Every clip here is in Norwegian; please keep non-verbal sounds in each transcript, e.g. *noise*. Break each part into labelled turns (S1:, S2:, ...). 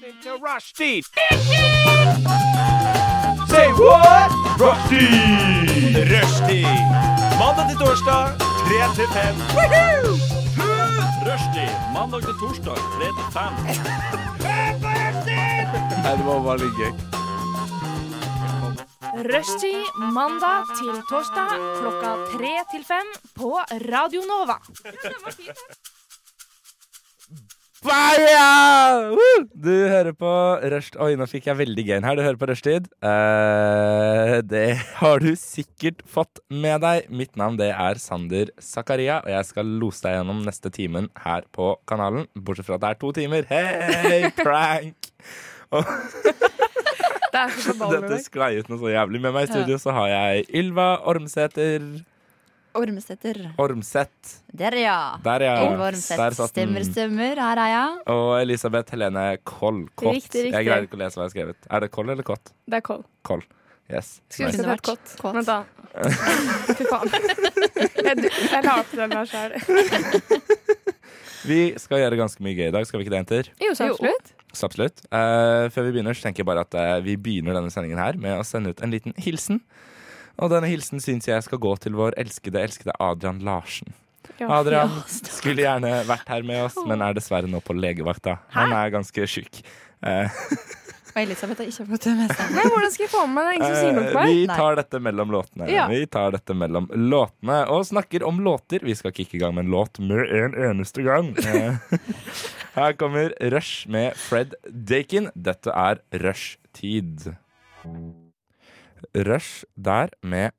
S1: listening to Rushdie. Say what? Rushdie. Rushdie. Mandag til torsdag, 3 til 5. Rushdie. Mandag til torsdag, 3 til 5.
S2: Rushtid mandag til torsdag klokka tre til fem på Radio Nova.
S3: Fire! Woo! Du hører på Rusht... Oi, nå fikk jeg veldig gain her. Du hører på Rushtid. Eh, det har du sikkert fått med deg. Mitt navn det er Sander Zakaria, og jeg skal lose deg gjennom neste timen her på kanalen. Bortsett fra at det er to timer. *laughs* Hei, prank!
S2: Det er så
S3: Dette sklei ut noe så jævlig. Med meg i studio så har jeg Ylva Ormsæter
S4: Ormsetter.
S3: Ormseth.
S4: Der, ja.
S3: Der, ja.
S4: Ylva Ormseth.
S3: Der satt den.
S4: Stemmer, stemmer. Her er jeg.
S3: Og Elisabeth Helene Koll. Kott.
S5: Riktig, riktig.
S3: Jeg greide ikke å lese hva jeg har skrevet. Er det Koll eller Kott?
S5: Det er kål.
S3: Koll. Yes.
S5: Skulle
S3: Nice.
S5: ønske det
S4: Kunne
S5: het kåt. Vent, *laughs* da.
S4: vært kåt.
S5: Fy faen. Jeg, jeg la opp til den der sjøl.
S3: Vi skal gjøre ganske mye gøy i dag, skal vi ikke det, jenter?
S5: *laughs* Jo, så absolutt.
S3: Så absolutt. Eh, før vi begynner, så tenker jeg bare at eh, vi begynner denne sendingen her med å sende ut en liten hilsen. Og denne hilsen syns jeg skal gå til vår elskede, elskede Adrian Larsen.
S5: Ja.
S3: Adrian skulle gjerne vært her med oss, men er dessverre nå på legevakta. Han er ganske sjuk. Eh,
S4: Og Elisabeth har ikke fått det med seg.
S5: Men hvordan skal jeg få med meg det? Ingen som sier noe
S3: Eh,
S5: til meg?
S3: Vi
S4: Nei.
S3: tar dette mellom låtene.
S5: Ja.
S3: Vi tar dette mellom låtene Og snakker om låter. Vi skal kicke i gang med en låt med en eneste
S5: *laughs*
S3: gang. Eh, Her kommer Rush med Fred Dakin. Dette er Rush-tid. Rush der med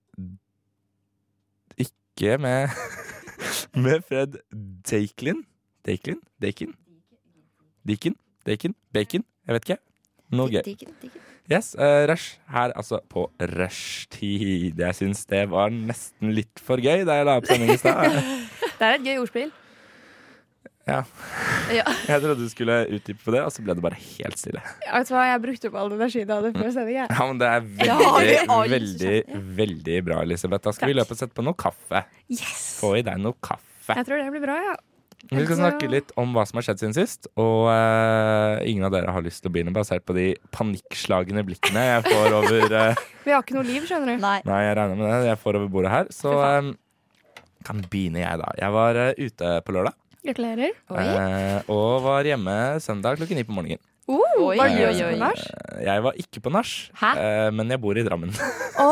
S3: Ikke med *laughs* Med Fred Daklin. Daklin? Dakin? Dikin? Dakin? Bacon? Jeg vet ikke. Noe gøy.
S4: Digger, digger.
S3: Yes, eh, Rush her altså på rushtid. Jeg syns det var nesten litt for gøy da jeg la opp sendingen i
S4: *laughs*
S3: stad.
S5: Det er et gøy ordspill.
S3: Ja.
S4: Ja.
S3: Jeg trodde du skulle utdype på det, og så ble det bare helt stille. *laughs*
S5: Ja, Vet du hva, jeg brukte opp all energi jeg hadde før sending. jeg.
S3: Ja, men det er
S4: Ja,
S3: veldig,
S4: det er
S3: veldig, veldig bra, Elisabeth. Da skal vi løpe og sette på noe kaffe. Få i deg noe kaffe.
S5: Jeg tror det blir bra, ja.
S3: Vi skal snakke litt om hva som har skjedd siden sist, og eh, ingen av dere har lyst til å begynne, basert på de panikkslagne blikkene jeg får over
S4: *laughs*
S3: eh,
S5: Vi har ikke noe liv, skjønner du.
S4: Nei.
S3: Nei, jeg regner med det. Jeg får over bordet her. Så em, kan begynne jeg, da. Jeg var eh, ute på lørdag.
S5: Gratulerer.
S4: Oi.
S3: eh, og var hjemme søndag klokken ni på morgenen.
S4: Oi,
S5: Var du
S3: oi,
S5: også
S4: oi.
S5: på nach?
S3: Eh, Jeg var ikke på nach,
S4: Hæ?
S3: eh, men jeg bor i Drammen. *laughs*
S5: Å,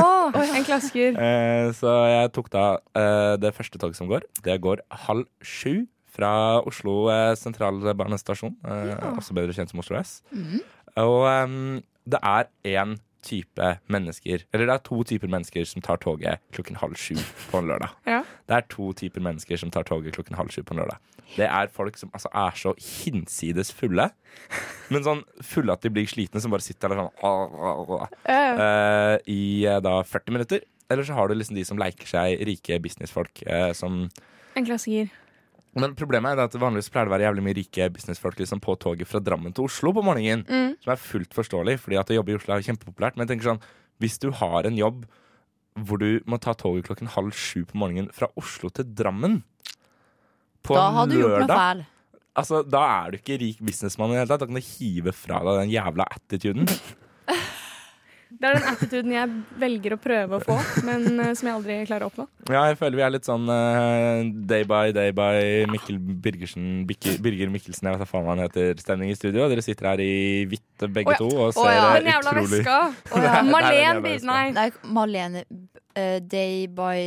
S5: en klasker.
S3: Eh, så jeg tok da eh, det første toget som går. Det går halv sju fra Oslo eh, sentralbanestasjon, eh, også bedre kjent som Oslo S.
S4: Mhm.
S3: Og em, det er én type mennesker, eller det er to typer mennesker som tar toget klokken halv sju på en lørdag.
S5: Ja.
S3: Det er to typer mennesker som tar toget klokken halv sju på en lørdag. Det er folk som altså, er så hinsides fulle, men sånn fulle at de blir slitne, som bare sitter der sånn «Åh, åh, åh».
S5: Eh,
S3: Eh, i eh, da 40 minutter. Eller så har du liksom de som leker seg rike businessfolk. eh, som
S5: en klasker.
S3: men problemet er det at det vanligvis pleier det å være jævlig mye rike businessfolk liksom, på toget fra Drammen til Oslo på morgenen.
S5: Mm.
S3: Som er fullt forståelig, fordi at å jobbe i Oslo er jo kjempepopulært. Men jeg tenker sånn, hvis du har en jobb hvor du må ta toget klokken halv sju på morgenen fra Oslo til Drammen på
S4: Da
S3: en
S4: har du gjort noe
S3: lørdag,
S4: feil.
S3: altså, da er du ikke rik businessmann i det hele tatt. Da kan du hive fra deg den jævla attituden.
S5: Det er den attituden jeg velger å prøve å få, men eh, som jeg aldri klarer å oppnå.
S3: Ja, jeg føler vi er litt sånn eh, day by day by Mikkel Birgersen Bikke- Birger Mikkelsen, jeg vet da faen hva han heter, stemning i studio. Dere sitter her i hvitt eh, begge
S5: Å ja.
S3: to og ser
S4: Å ja,
S3: eh,
S5: Den jævla
S3: utrolig
S5: veska.
S3: *laughs* Det er- det er den
S5: Marlene
S3: jævla
S5: Bir-
S3: veska.
S5: Nei.
S4: Nei, Malene eh, Day by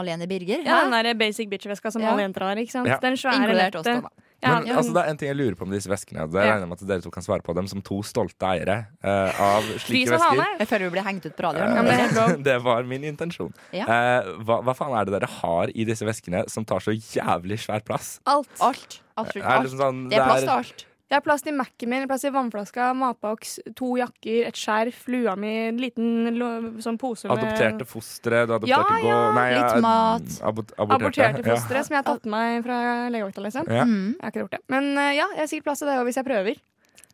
S4: Malene Birger.
S5: Ja,
S4: Hæ?
S5: den der basic bitch-veska som
S4: Ja.
S5: alle jenter har. ikke sant?
S3: Ja.
S5: Den svære
S4: Inkludert oss,
S5: lette.
S4: da. da.
S5: Ja,
S3: Men altså, det er en ting jeg lurer på med disse veskene. og Det
S5: Ja.
S3: regner jeg med at dere to kan svare på dem som to stolte eiere eh, av
S5: de
S3: slike
S5: som har
S3: vesker.
S5: med.
S4: Jeg føler vi blir hengt ut på
S3: Eh,
S4: radioen.
S5: Ja, men det er helt lov.
S3: *laughs* det var min intensjon.
S4: Ja.
S3: Eh, hva, hva faen er det dere har i disse veskene som tar så jævlig svær plass?
S5: Alt.
S4: Alt. Absolutt
S3: Er det
S4: alt.
S3: liksom sånn,
S4: Det er plass
S3: det
S4: til alt.
S5: Jeg har plass til Mac-en min, jeg har plass til vannflaska, matboks, to jakker, et skjerf, lua mi, en liten lo- sånn pose med
S3: Adopterte fostre, du adopterte
S5: Ja,
S3: gå-
S5: ja,
S3: nei,
S4: litt
S3: eh,
S4: mat.
S3: abort-
S5: Aborterte
S3: ja.
S5: fostre som jeg har tatt med meg fra legevakta, liksom.
S3: Ja.
S4: Mm.
S5: Jeg har ikke gjort det. Men eh, ja, jeg har sikkert plass til det også hvis jeg prøver.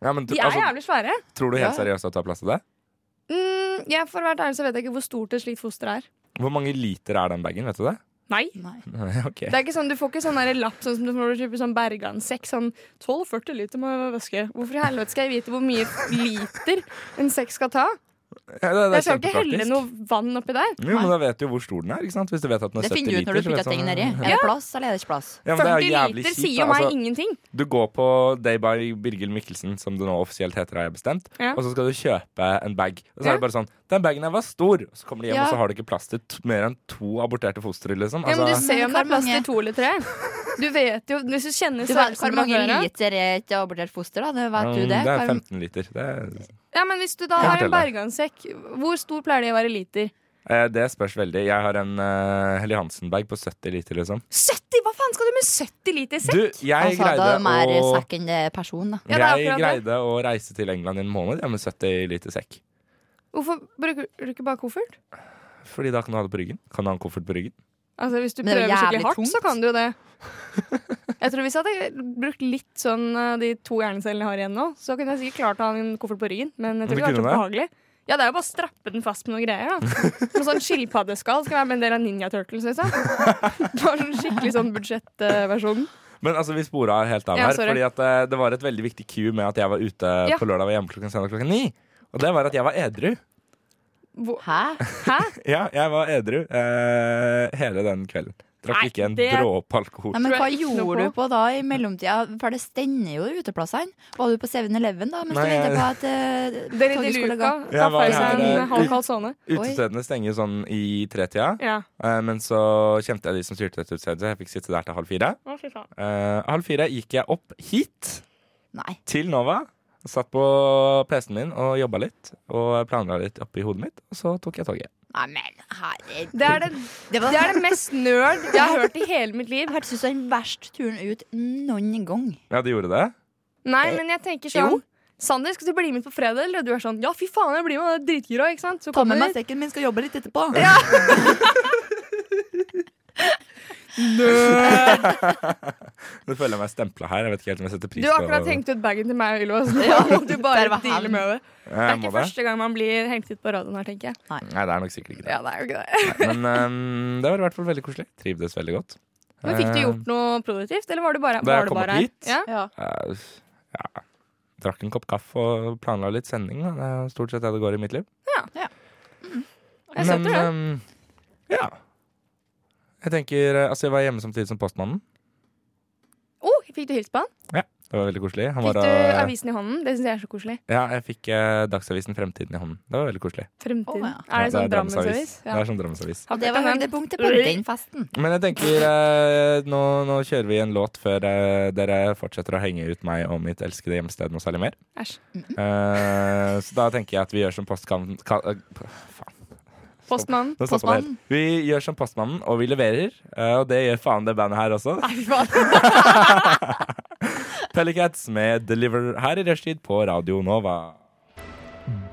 S3: Ja, men, du-
S5: De er
S3: altså,
S5: jævlig svære.
S3: tror du helt
S4: Ja.
S3: seriøst at du har plass til det?
S5: Mm, jeg, for å være ærlig så vet jeg ikke hvor stort et slikt foster er.
S3: Hvor mange liter er den bagen, vet du det? *laughs*
S5: Nei.
S4: Nei.
S3: ok.
S5: Det er ikke sånn, Du får ikke sånn der lapp sånn som du får kjøpe sånn Bergan-sekk. Sånn 12-40 liter må jeg vaske. Hvorfor i helvete skal jeg vite hvor mye liter en sekk skal ta?
S3: Ja, det, det er
S5: Jeg skal jo ikke helle
S3: kjempepraktisk.
S5: noe vann oppi der.
S3: Jo, men da vet du jo hvor stor den er. ikke sant? Hvis du vet at den er
S4: Det
S3: 70
S4: finner du ut
S3: liter.
S4: når du
S3: så vet
S4: putter ting
S3: sånn-
S4: nedi. Er det plass, eller er det ikke plass?
S3: *laughs* Ja, men det er
S5: 40
S3: jo jævlig
S5: liter
S3: kjipt,
S5: sier
S3: da.
S5: meg
S3: Altså,
S5: ingenting.
S3: du går på Day by Birgil Mikkelsen, som det nå offisielt heter, har jeg bestemt,
S5: Ja.
S3: og så skal du kjøpe en bag. Og så
S5: Ja.
S3: er det bare sånn Den bagen her var stor! Og så kommer de hjem, og
S4: Ja.
S3: så har du ikke plass til t mer enn to aborterte fostre, liksom.
S5: Ja, men du
S3: Altså,
S5: ser jo om det er plass
S4: Hvor mange-
S5: til to eller
S3: *laughs*
S5: tre. Du vet jo, Hvis du kjenner
S4: Du vet hvor
S5: størrelsen på
S4: mange
S5: døra
S4: liter er et abortert foster, da? Det vet
S3: mm,
S4: du det?
S3: det er
S4: Hvor-
S3: 15 liter. Det, er-
S5: Ja, men Hvis du da
S3: Kan
S5: har en
S3: fortelle.
S5: bergansekk, hvor stor pleier det å være i liter?
S3: eh, det spørs veldig. Jeg har en eh, Helly Hansen-bag på 70 liter, liksom.
S5: 70! Hva faen skal du med 70 liter sekk?
S3: Du, jeg
S4: Han sa
S3: greide
S4: da mer
S3: å
S4: sekk enn det er person, da.
S5: Ja, det er
S3: jeg
S5: akkurat det.
S3: greide å reise til England i en måned ja, med 70 liter sekk.
S5: Hvorfor bruker du ikke bare koffert?
S3: Fordi da kan du ha det på ryggen. Kan du ha en koffert på ryggen?
S5: Altså Hvis du
S4: Men det er jo
S5: prøver skikkelig
S4: jævlig
S5: hardt,
S4: tungt.
S5: så kan du jo det.
S4: *laughs*
S5: Jeg tror Hvis jeg hadde brukt litt sånn eh, de to hjernecellene jeg har igjen nå, så kunne jeg sikkert klart å ha en koffert på ryggen. Men jeg tror
S3: Men
S5: ikke det hadde vært så
S3: kunne
S5: behagelig. Ja, Det er jo bare å strappe den fast med noen greier.
S3: *laughs*
S5: da Med sånn skilpaddeskall skal være med en del av Ninja Turtles.
S3: *laughs*
S5: Liksom. Bare sånn skikkelig sånn budsjettversjon.
S3: Men altså, vi spora helt av
S5: Ja,
S3: her.
S5: sorry.
S3: Fordi at eh, det var et veldig viktig cue med at jeg var ute
S5: Ja.
S3: på lørdag og var hjemme klokken senere klokken ni. Og det var at jeg var edru. *laughs*
S5: Hvor-
S4: Hæ?
S5: Hæ?
S3: Ja, jeg var edru eh, hele den kvelden. Drakk
S5: Nei,
S3: ikke en
S5: det-
S3: dråpe alkohol.
S4: Nei, men
S5: Tror
S4: hva
S5: jeg ikke noe på.
S4: gjorde du på da i mellomtida? For det stender jo uteplassene. Var du på 7-Eleven da mens du
S3: Nei, jeg-
S4: venta på at uh,
S5: *laughs* Dere
S4: toget
S5: i
S4: skulle
S5: luka,
S4: gå?
S5: da
S3: Jeg var
S5: får jeg seg
S4: her,
S5: en
S4: eh,
S5: halv
S4: ut-
S5: kalsone.
S3: Utestedene stenger sånn i tretida.
S5: Ja.
S3: eh, men så kjente jeg de som styrte dette utestedet, så jeg fikk sitte der til halv fire.
S5: Å, fy faen.
S3: Eh, halv fire gikk jeg opp hit.
S4: Nei.
S3: til Nova. Satt på PC-en min og jobba litt og planla litt oppi hodet mitt. Og så tok jeg toget.
S4: Nei, men herregud.
S5: Det er det,
S4: Det var
S5: det er det mest nerd jeg har hørt i hele mitt liv.
S4: hørtes ut som den verste turen ut noen gang.
S3: Ja, de gjorde det.
S5: Nei,
S3: Eh,
S5: men jeg tenker sånn Sander, skal du bli med på fredag? Eller Og du er sånn Ja, fy faen, jeg blir med, jeg er dritgira. Ikke sant? Så
S4: Ta med
S5: kommer *laughs*
S4: meg sekken min, skal jobbe litt etterpå. *laughs*
S3: Nå føler jeg meg stempla her. Jeg vet ikke helt om jeg setter pris
S5: Du
S3: på
S5: har akkurat hengt ut bagen til meg og Ylva, så nå
S4: *laughs* Ja,
S5: må du
S4: der
S5: bare
S4: var
S5: deale
S4: han.
S5: med det. Det
S3: Eh,
S5: er
S3: må
S5: ikke første gang man blir hengt ut på radioen her, tenker jeg.
S3: Nei, det er nok sikkert ikke det.
S5: Ja, det er jo ikke det.
S3: Men ehm, det var i hvert fall veldig koselig. Trivdes veldig godt. Ehm,
S5: Men Fikk du gjort noe produktivt, eller var du bare,
S3: Eh. Da jeg
S5: var du
S3: kom opp
S5: bare
S3: hit?
S5: Ja?
S3: Eh, ja. Drakk en kopp kaffe og planla litt sending. Da. Det er stort sett det det går i mitt liv. Men
S5: Jeg skjønte det.
S3: ehm, ja. Jeg tenker eh, Altså, jeg var hjemme samtidig som postmannen.
S5: Oh, fikk du hilst på han?
S3: Det var veldig koselig. Han
S5: Fikk
S3: var eh,
S5: du
S3: og-
S5: avisen i hånden? Det syns jeg er så koselig.
S3: Ja, jeg fikk eh, Dagsavisen Fremtiden i hånden. Det var veldig koselig.
S5: Fremtiden.
S4: Å, ja.
S5: Er det
S3: Ja,
S5: sånn Drammensavis?
S3: Det er sånn Drammensavis.
S4: Og det var høydepunktet på den festen.
S3: Men jeg tenker eh, nå, nå kjører vi en låt før eh, dere fortsetter å henge ut meg og mitt elskede hjemsted noe særlig mer.
S5: Æsj.
S3: Eh, så da tenker jeg at vi gjør som postkan... Ka, eh, p- faen.
S5: Postmannen.
S3: Nå stopper det. Vi gjør som postmannen, og vi leverer. eh, og det gjør faen det bandet her også.
S5: Nei, fy faen.
S3: Pellicats med Deliver her i rushtid på Radio Nova.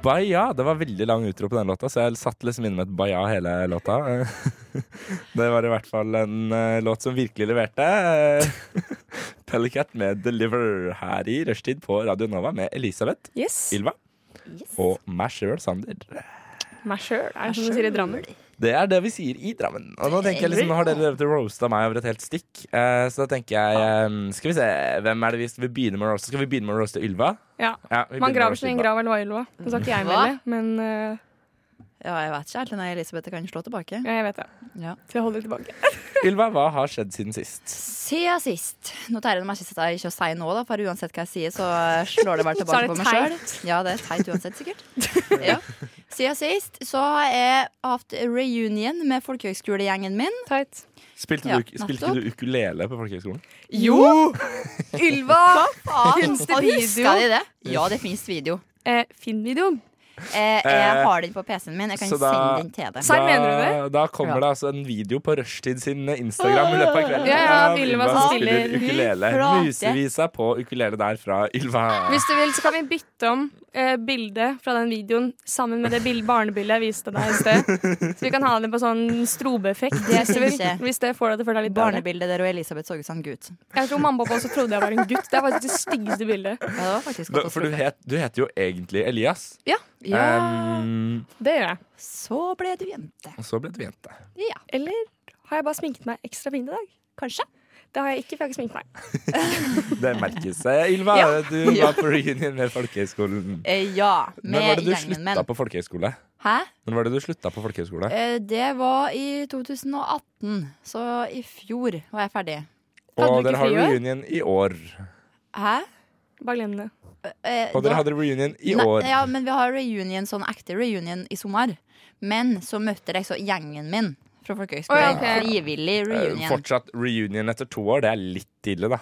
S3: Baja. Det var veldig lang utro på den låta, så jeg satt liksom inne med et baja hele låta. *laughs* Det var i hvert fall en eh, låt som virkelig leverte. *laughs* Eh, Pellicat med 'Deliver' her i rushtid på Radio Nova med Elisabeth,
S5: Yes.
S3: Ylva
S4: *laughs* Yes.
S3: og meg sjøl, Sander.
S5: Meg sjøl, er det sånn som du sier i Drammen?
S3: Det er det vi sier i Drammen. Og nå tenker jeg liksom, nå har dere drevet og roasta meg over et helt stikk, eh, så da tenker jeg eh, Skal vi se, hvem er det vi vil begynne med å roaste? Skal vi begynne med å roaste Ylva?
S5: Ja.
S3: Ja, vi
S5: Man
S3: begynner med å
S5: graver
S3: roaste
S5: sin egen
S3: Ylva.
S5: grav, eller hva, Ylva? Nå sa ikke jeg med
S4: Hva?
S5: det, men eh,
S4: Ja, jeg vet ikke helt når Elisabeth kan slå tilbake.
S5: ja, jeg vet det.
S4: Ja.
S5: Så jeg holder tilbake.
S3: Ylva, hva har skjedd siden sist?
S4: Siden sist. Nå tærer det meg ikke å si- ikke å si nå, da, for uansett hva jeg sier, så slår det
S3: *laughs*
S4: bare
S5: Så er
S4: tilbake
S5: det
S4: på meg sjøl. Ja, det er teit uansett, sikkert. Ja. Siden sist så har jeg hatt reunion med folkehøgskolegjengen min.
S5: Teit.
S3: Spilte,
S4: Ja,
S3: du, spilte du ukulele på folkehøgskolen?
S5: Jo! *laughs* Ylva! Finnes det
S4: Og
S5: video?
S4: Husker de det? Ja, det fins video.
S5: Eh, Finn videoen.
S4: Jeg, jeg har den på PC-en min. Jeg kan
S3: Eh, så da-
S4: sende den til deg.
S5: Serr, mener du
S3: Da- Da kommer
S4: Ja.
S3: det altså en video på Rushtid sin eh, Instagram i løpet av kvelden.
S5: Ja, ja,
S3: av
S5: Ylva som spiller.
S3: ukulele.
S4: Fy flate.
S3: Musevisa på ukulele der fra Ylva.
S5: Hvis du vil, så kan vi bytte om eh, bildet fra den videoen sammen med det bild- barnebildet jeg viste deg i sted. Så vi kan ha det på sånn strobeeffekt.
S4: Det
S5: hvis du vil.
S4: syns jeg.
S5: Hvis det får deg til å føle deg litt bedre.
S4: Barnebildet der og Elisabeth så ut som en gutt.
S5: Jeg tror mamma og pappa også trodde jeg var en gutt. Det er faktisk det styggeste bildet.
S4: Ja, det var faktisk
S3: Da- For du,
S4: katastrofe.
S3: het, du heter jo egentlig Elias.
S4: Ja,
S3: Um,
S5: Det gjør jeg.
S4: så ble du jente.
S3: og så ble du jente.
S5: Eller har jeg bare sminket meg ekstra fint i dag.
S4: Kanskje?
S5: Det har jeg ikke, for jeg har ikke sminket meg.
S3: Det merkes. Eh, Ylva,
S4: Ja.
S3: du
S5: *laughs*
S4: Ja.
S3: var på reunion med folkehøyskolen.
S4: Eh, ja,
S3: Når var
S4: med
S3: det du
S4: gjengen min.
S3: slutta på folkehøyskole?
S4: Hæ?
S3: Når var det du slutta på folkehøyskole?
S4: Eh, det var i 2018, så i fjor var jeg ferdig.
S5: hadde
S3: Og
S5: du ikke
S3: dere har
S5: friår?
S3: reunion i år.
S4: Hæ?
S5: Bare glem det.
S4: Eh,
S3: Og
S4: da-
S3: dere hadde reunion i
S4: Nei,
S3: år.
S4: Ja, men vi har reunion, sånn ekte reunion i sommer. Men så møtte jeg så gjengen min fra folkehøgskolen.
S5: Å, ja, ok.
S4: Frivillig
S3: Eh,
S4: reunion.
S3: Fortsatt reunion etter to år. Det er litt tidlig, da.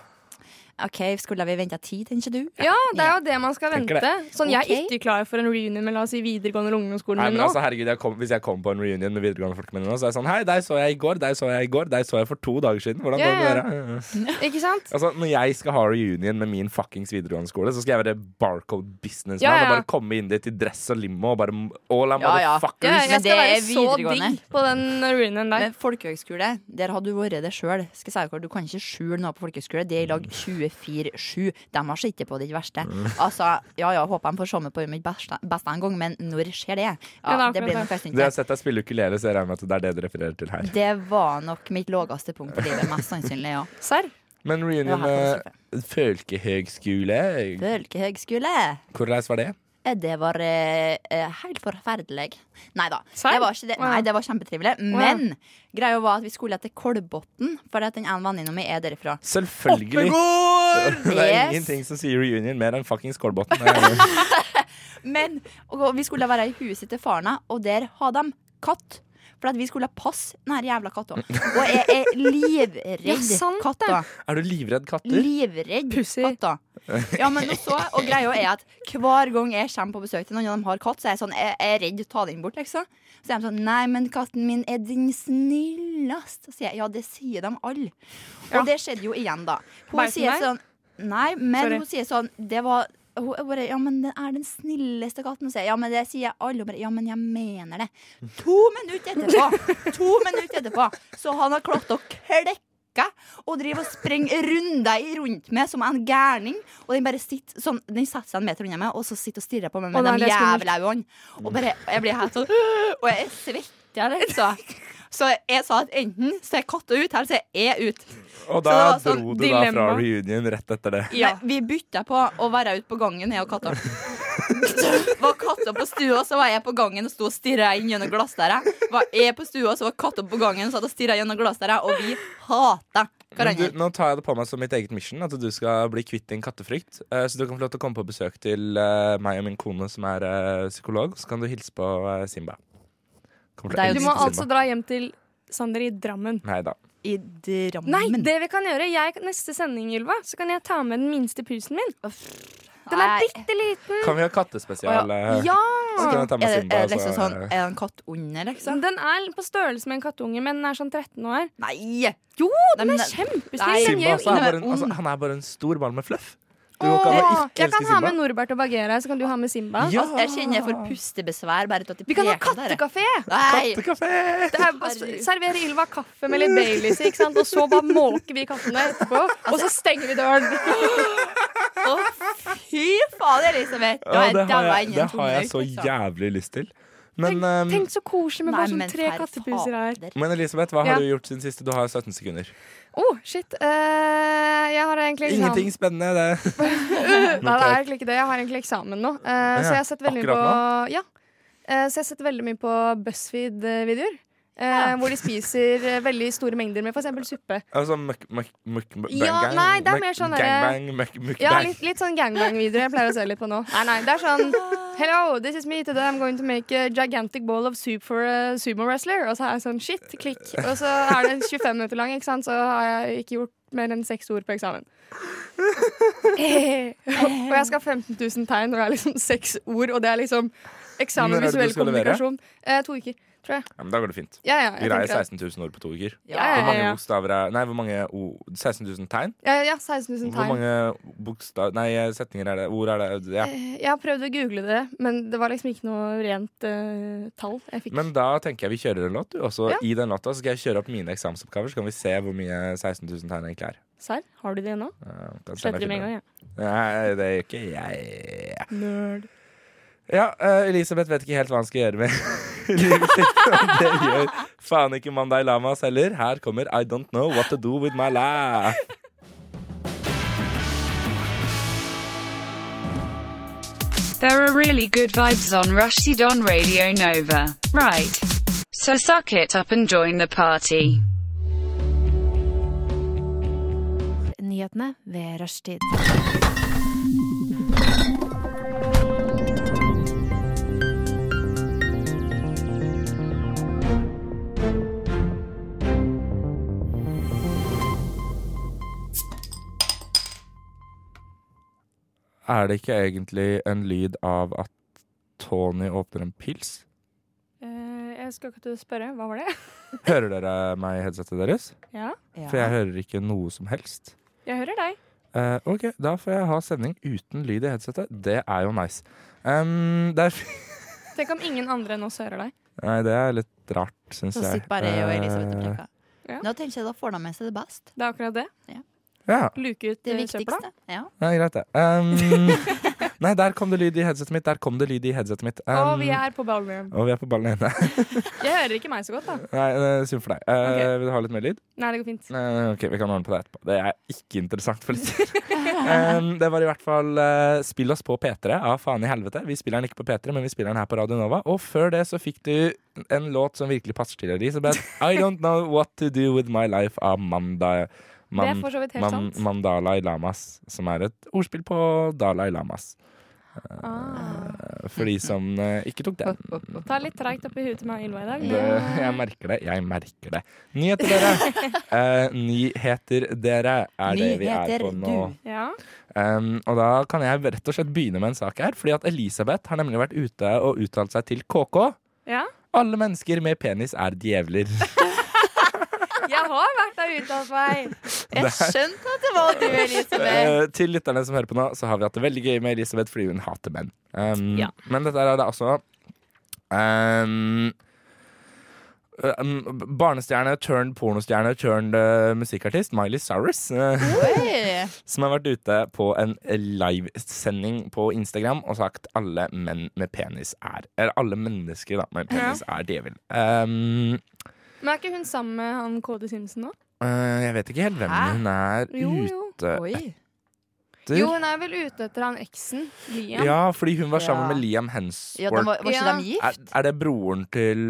S4: OK, skulle vi venta ti, tenker du?
S5: Ja, det er jo det man skal
S3: Tenker
S5: vente. Sånn, Jeg er
S4: Ok.
S5: ikke klar for en reunion med la oss si videregående eller ungdomsskolen
S3: Nei,
S5: min
S3: men
S5: nå.
S3: altså, herregud, jeg kom, Hvis jeg kommer på en reunion med videregående folk mine nå, så er jeg sånn Hei, deg så jeg i går, deg så jeg i går, deg så jeg for to dager siden. Hvordan går det
S5: Ja, ja.
S3: med dere?
S5: Ikke sant?
S3: Altså, Når jeg skal ha reunion med min fuckings videregående skole, så skal jeg være barcode businessman
S5: Ja, ja.
S3: og bare komme inn dit i dress og limo og bare All I'm
S4: Ja, ja.
S3: motherfuckers.
S5: Ja,
S4: Men
S5: jeg
S4: det
S5: skal være
S4: er
S5: så
S4: videregående.
S5: digg på den uh, reunionen der.
S4: Men folkehøgskole, der har du vært det sjøl. Skal jeg si dere, Du kan ikke skjule noe på folkehøgskole. Det er i
S3: Mm.
S4: lag 24-7. De har sittet på ditt verste. Altså, ja ja, håper de får se meg på mitt beste, beste en gang, men når skjer det? Ja,
S5: Ja, det er
S4: det blir
S5: akkurat
S4: nok nesten
S3: Det jeg
S4: ikke.
S3: har sett deg spille ukulele, så jeg regner med at det er det du refererer til her.
S4: Det var nok mitt laveste punkt i livet, mest sannsynlig, *laughs* ja.
S5: Serr?
S3: Men
S4: Ja,
S3: reunion
S4: her kan du
S3: med folkehøgskole,
S4: Folkehøgskole.
S3: hvordan var det?
S4: Eh, Det var eh, eh, helt forferdelig. Nei da.
S5: Serr?
S4: Det var ikke det. Nei, det var kjempetrivelig.
S5: ja.
S4: Men greia var at vi skulle til Kolbotn, fordi at den ene venninna mi er derifra.
S3: Selvfølgelig! *laughs* Det er
S4: Yes.
S3: ingenting som sier reunion mer enn fuckings Kolbotn.
S4: *laughs*
S3: Det
S4: Men og vi skulle være i huset til faren, og der har de katt. For at vi skulle passe den her jævla
S5: *laughs*
S4: katta. Og jeg er livredd
S5: Ja, sant det.
S4: katta.
S3: er- Er du livredd katter?
S4: Livredd
S5: Pussy.
S4: katta. Ja, men nå så, og greia er at hver gang jeg kommer på besøk til noen og de har katt, så er jeg sånn, jeg jeg er redd å ta den bort, liksom. Så er de sånn, nei, men katten min er den snillest. Så sier jeg, ja, det sier de alle. Og
S5: Ja.
S4: det skjedde jo igjen da. Hun
S5: Beit den
S4: sier
S5: deg?
S4: sånn, nei, men
S5: Sorry.
S4: hun sier sånn, det var... Hun er bare, ja, men den er den snilleste katten Og sier, jeg, ja, men det sier jeg alle Og bare, Ja, men jeg mener det To
S5: *laughs*
S4: minutter etterpå To minutter etterpå Så han har klart å klekke Og driver og sprenger runder i rundt meg Som en gærning Og den bare sitter sånn Den setter seg en meter unna meg Og så sitter og stirrer på meg
S5: Å,
S4: Med
S5: nei,
S4: de
S5: det er skummelt.
S4: jævla øynene Og bare Jeg blir helt sånn «Øh», Og jeg svetter liksom Så jeg sa at enten Så er katta ut Eller så er jeg ut
S3: Og
S4: Så
S3: da
S4: det var sånn
S3: dro du da fra
S5: dilemma.
S3: reunion rett etter det.
S4: ja. Vi bytta på å være ute på gangen, jeg og katta. *laughs* Så var katta på stua, så var jeg på gangen og sto og stirra inn gjennom glassdøra. Var jeg på stua, så var katta på gangen og satt og stirra gjennom glassdøra, og vi hata
S3: Men du,
S4: hverandre.
S3: nå tar jeg det på meg som mitt eget mission at du skal bli kvitt din kattefrykt. Eh, så du kan få lov til å komme på besøk til eh, meg og min kone som er eh, psykolog, så kan du hilse på eh, Simba. Kommer til å
S4: Det er
S5: Du
S4: jo
S3: elske
S5: må
S3: Simba.
S5: altså dra hjem til Sander i Drammen.
S3: Nei da.
S4: I Drammen.
S5: Nei, det vi kan gjøre jeg, Neste sending, Ylva, så kan jeg ta med den minste pusen min. Den er
S4: Nei.
S5: bitte liten.
S3: Kan vi ha kattespesial? eh,
S5: Ja!
S3: Så kan jeg ta med
S4: Er det,
S3: Simba.
S4: er det liksom
S3: så,
S4: sånn
S3: eh,
S4: Er det en katt under, liksom?
S5: Den er på størrelse med en kattunge, men den er sånn 13 år.
S4: Nei!
S5: Jo,
S4: Nei,
S5: den
S4: men
S5: er
S4: det-
S5: kjempesnill.
S4: Nei.
S5: Den
S3: Simba
S5: gjør
S3: også
S5: jo
S3: er
S4: inne-
S3: bare en, altså, han er bare en stor ball med fluff. Du kan ikke
S5: Åh,
S3: ikke
S5: Jeg
S3: elske
S5: kan ha
S3: Simba.
S5: med Norbert og Bagheera, så kan du ha med Simba.
S3: Ja.
S4: Altså, Jeg kjenner jeg får pustebesvær bare av at de
S5: Vi kan ha
S4: peker på dere.
S5: kattekafé!
S4: Nei!
S3: Kattekafé!
S5: Det er bare å Servere Ylva kaffe med litt Baileys, ikke sant? og så bare måker vi kattene etterpå. Og så stenger vi døren.
S4: Å, fy fader, Elisabeth! Da
S3: Ja,
S4: er
S3: det har
S4: daua
S3: jeg,
S4: innen
S3: det har
S4: tommel
S3: jeg
S4: ut,
S3: så
S4: liksom.
S3: jævlig lyst til. Men, ehm,
S5: Tenk så koselig med bare
S4: Nei,
S5: sånn
S4: men
S5: tre
S4: herre
S5: kattepuser her.
S4: fader.
S3: men Elisabeth, hva
S5: Ja.
S3: har du gjort siden sist? Du har 17 sekunder.
S5: Oh, shit. Eh, jeg har egentlig eksamen.
S3: Ingenting spennende. Det. *laughs*
S5: Nei, det er egentlig ikke det. Jeg har egentlig eksamen nå. Eh, Så jeg har sett veldig mye på
S3: Akkurat
S5: ja. Eh, Så jeg har sett veldig mye på BuzzFeed-videoer. eh, Hvor de spiser eh, veldig store mengder med f.eks. suppe.
S3: Altså møkk, møkk, møkk,
S5: Ja,
S3: bang,
S5: nei, det
S3: møkk,
S5: er mer sånn
S3: gangbang, møkk, møkk,
S5: Ja,
S3: bang.
S5: litt, litt sånn gangbang-videoer jeg pleier å se litt på nå. Nei, nei, det er sånn Hello, this is me today. I'm going to make a gigantic ball of soup for a sumo wrestler. Og så er jeg sånn shit, klikk. Og så er den 25 minutter lang, ikke sant, så har jeg ikke gjort mer enn seks ord på eksamen. og jeg skal ha 15 000 tegn, og det er liksom seks ord, og det er liksom eksamen
S3: Når er det du
S5: visuell
S3: skal levere?
S5: kommunikasjon. Eh, to uker, tror jeg.
S3: Ja, men da går det fint.
S5: Ja, ja,
S3: Vi
S5: jeg
S3: greier
S5: tenker det.
S3: 16 000 ord på to uker.
S5: Ja,
S3: Hvor
S5: ja,
S3: mange
S5: ja.
S3: bokstaver er Nei, hvor mange ord 16 000 tegn?
S5: Ja, ja, 16 000
S3: Hvor
S5: tegn.
S3: mange bokstav... Nei, setninger er det? Ord er det? Ja.
S5: Eh, Jeg har prøvd å google det, men det var liksom ikke noe rent eh, tall jeg fikk.
S3: Men da tenker jeg vi kjører en låt, du. Og så
S5: Ja.
S3: i den låta så skal jeg kjøre opp mine eksamensoppgaver, så kan vi se hvor mye 16 000 tegn egentlig er.
S5: Serr, har du det nå?
S3: Ja, kan se om jeg
S5: Sletter det med en
S3: finner
S5: gang,
S3: det.
S5: jeg.
S3: Nei, det gjør ikke jeg.
S5: Nerd.
S3: Ja, eh, Elisabeth vet ikke helt hva han skal gjøre med *laughs* livet sitt. Og det gjør faen ikke Mandai Lamas heller. Her kommer I Don't Know What To Do With My Life.
S6: There are really good vibes on Rushdie on Radio Nova. Right. So suck it up and join the party.
S7: Nyhetene ved rushtid.
S3: Er det ikke egentlig en lyd av at Tony åpner en pils?
S5: Eh, jeg skal ikke til å spørre. Hva var det? *laughs*
S3: Hører dere meg i headsetet deres?
S5: Ja,
S3: For jeg hører ikke noe som helst.
S5: jeg hører deg.
S3: Eh, ok, da får jeg ha sending uten lyd i headsetet. Det er jo nice. Em, det, er,
S5: Tenk om ingen andre enn oss hører deg.
S3: nei, det er litt rart, syns
S4: Så
S3: jeg.
S4: sitter bare jeg og Elisabeth og
S3: Eh,
S4: preker.
S5: Ja.
S4: Da tenker jeg da får de med seg det best.
S5: Det er akkurat det.
S3: Ja,
S5: Luke ut
S4: Det
S5: eh, søpla.
S4: viktigste. *laughs* Ja.
S3: ja, greit det.
S5: *laughs*
S3: Em, nei, der kom det lyd i headsetet mitt. Der kom det lyd i headsetet mitt. Em,
S5: Og vi er på ballroom.
S3: og vi er på ballen ene.
S5: Jeg hører ikke meg så godt, da.
S3: *laughs* Nei, det er synd for deg. Eh, Vil du ha litt mer lyd?
S5: Nei, det går fint.
S3: Nei, ok, Vi kan ordne på det etterpå. Det er ikke interessant for lytter.
S5: *laughs*
S3: Em, det var i hvert fall eh, Spill oss på P3 av Faen i helvete. Vi spiller den ikke på P3, men vi spiller den her på Radio Nova. Og før det så fikk du en låt som virkelig passer til
S5: *laughs*
S3: Elisabeth. I Don't Know What To Do With My Life av Manda,
S5: Det
S3: Man-
S5: er for så vidt helt
S3: Man-
S5: sant.
S3: Mandalai Lamas, som er et ordspill på Dalai Lamas.
S5: Ah.
S3: For de som eh, ikke tok den.
S5: Det er litt treigt oppi huet til meg og Ylva i dag.
S3: Det, jeg merker det. Jeg merker det. Nyheter,
S4: *laughs*
S3: dere! Eh, nyheter, dere, er det vi er
S4: Nyheter,
S3: på nå.
S4: du.
S5: Ja.
S3: Um, og da kan jeg rett og slett begynne med en sak her. Fordi at Elisabeth har nemlig vært ute og uttalt seg til KK.
S5: ja.
S3: Alle mennesker med penis er djevler.
S5: Jeg har vært der ute altså, av meg.
S4: Jeg skjønte at det var du, Elisabeth.
S3: Eh, til lytterne som hører på nå, så har vi hatt det veldig gøy med Elisabeth fordi hun hater menn. Um,
S5: Ja.
S3: Men dette er da altså um, um, Barnestjerne turned pornostjerne turned eh, musikkartist Miley Cyrus. eh, *laughs*
S4: Oi.
S3: som har vært ute på en livesending på Instagram og sagt alle menn med penis er Eller alle mennesker da, med penis er djevel. Um,
S5: Men er ikke hun sammen med han KD Simpson nå?
S3: øh, jeg vet ikke helt hvem
S4: Hæ?
S3: hun er
S5: Jo, jo.
S3: ute
S4: Oi.
S3: etter.
S5: Jo, hun er vel ute etter han eksen. Liam.
S3: ja, fordi hun var sammen
S4: Ja.
S3: med Liam
S4: Ja, de var,
S3: Hemsworth.
S4: var ikke
S5: Ja.
S4: de gift?
S3: Er, er det broren til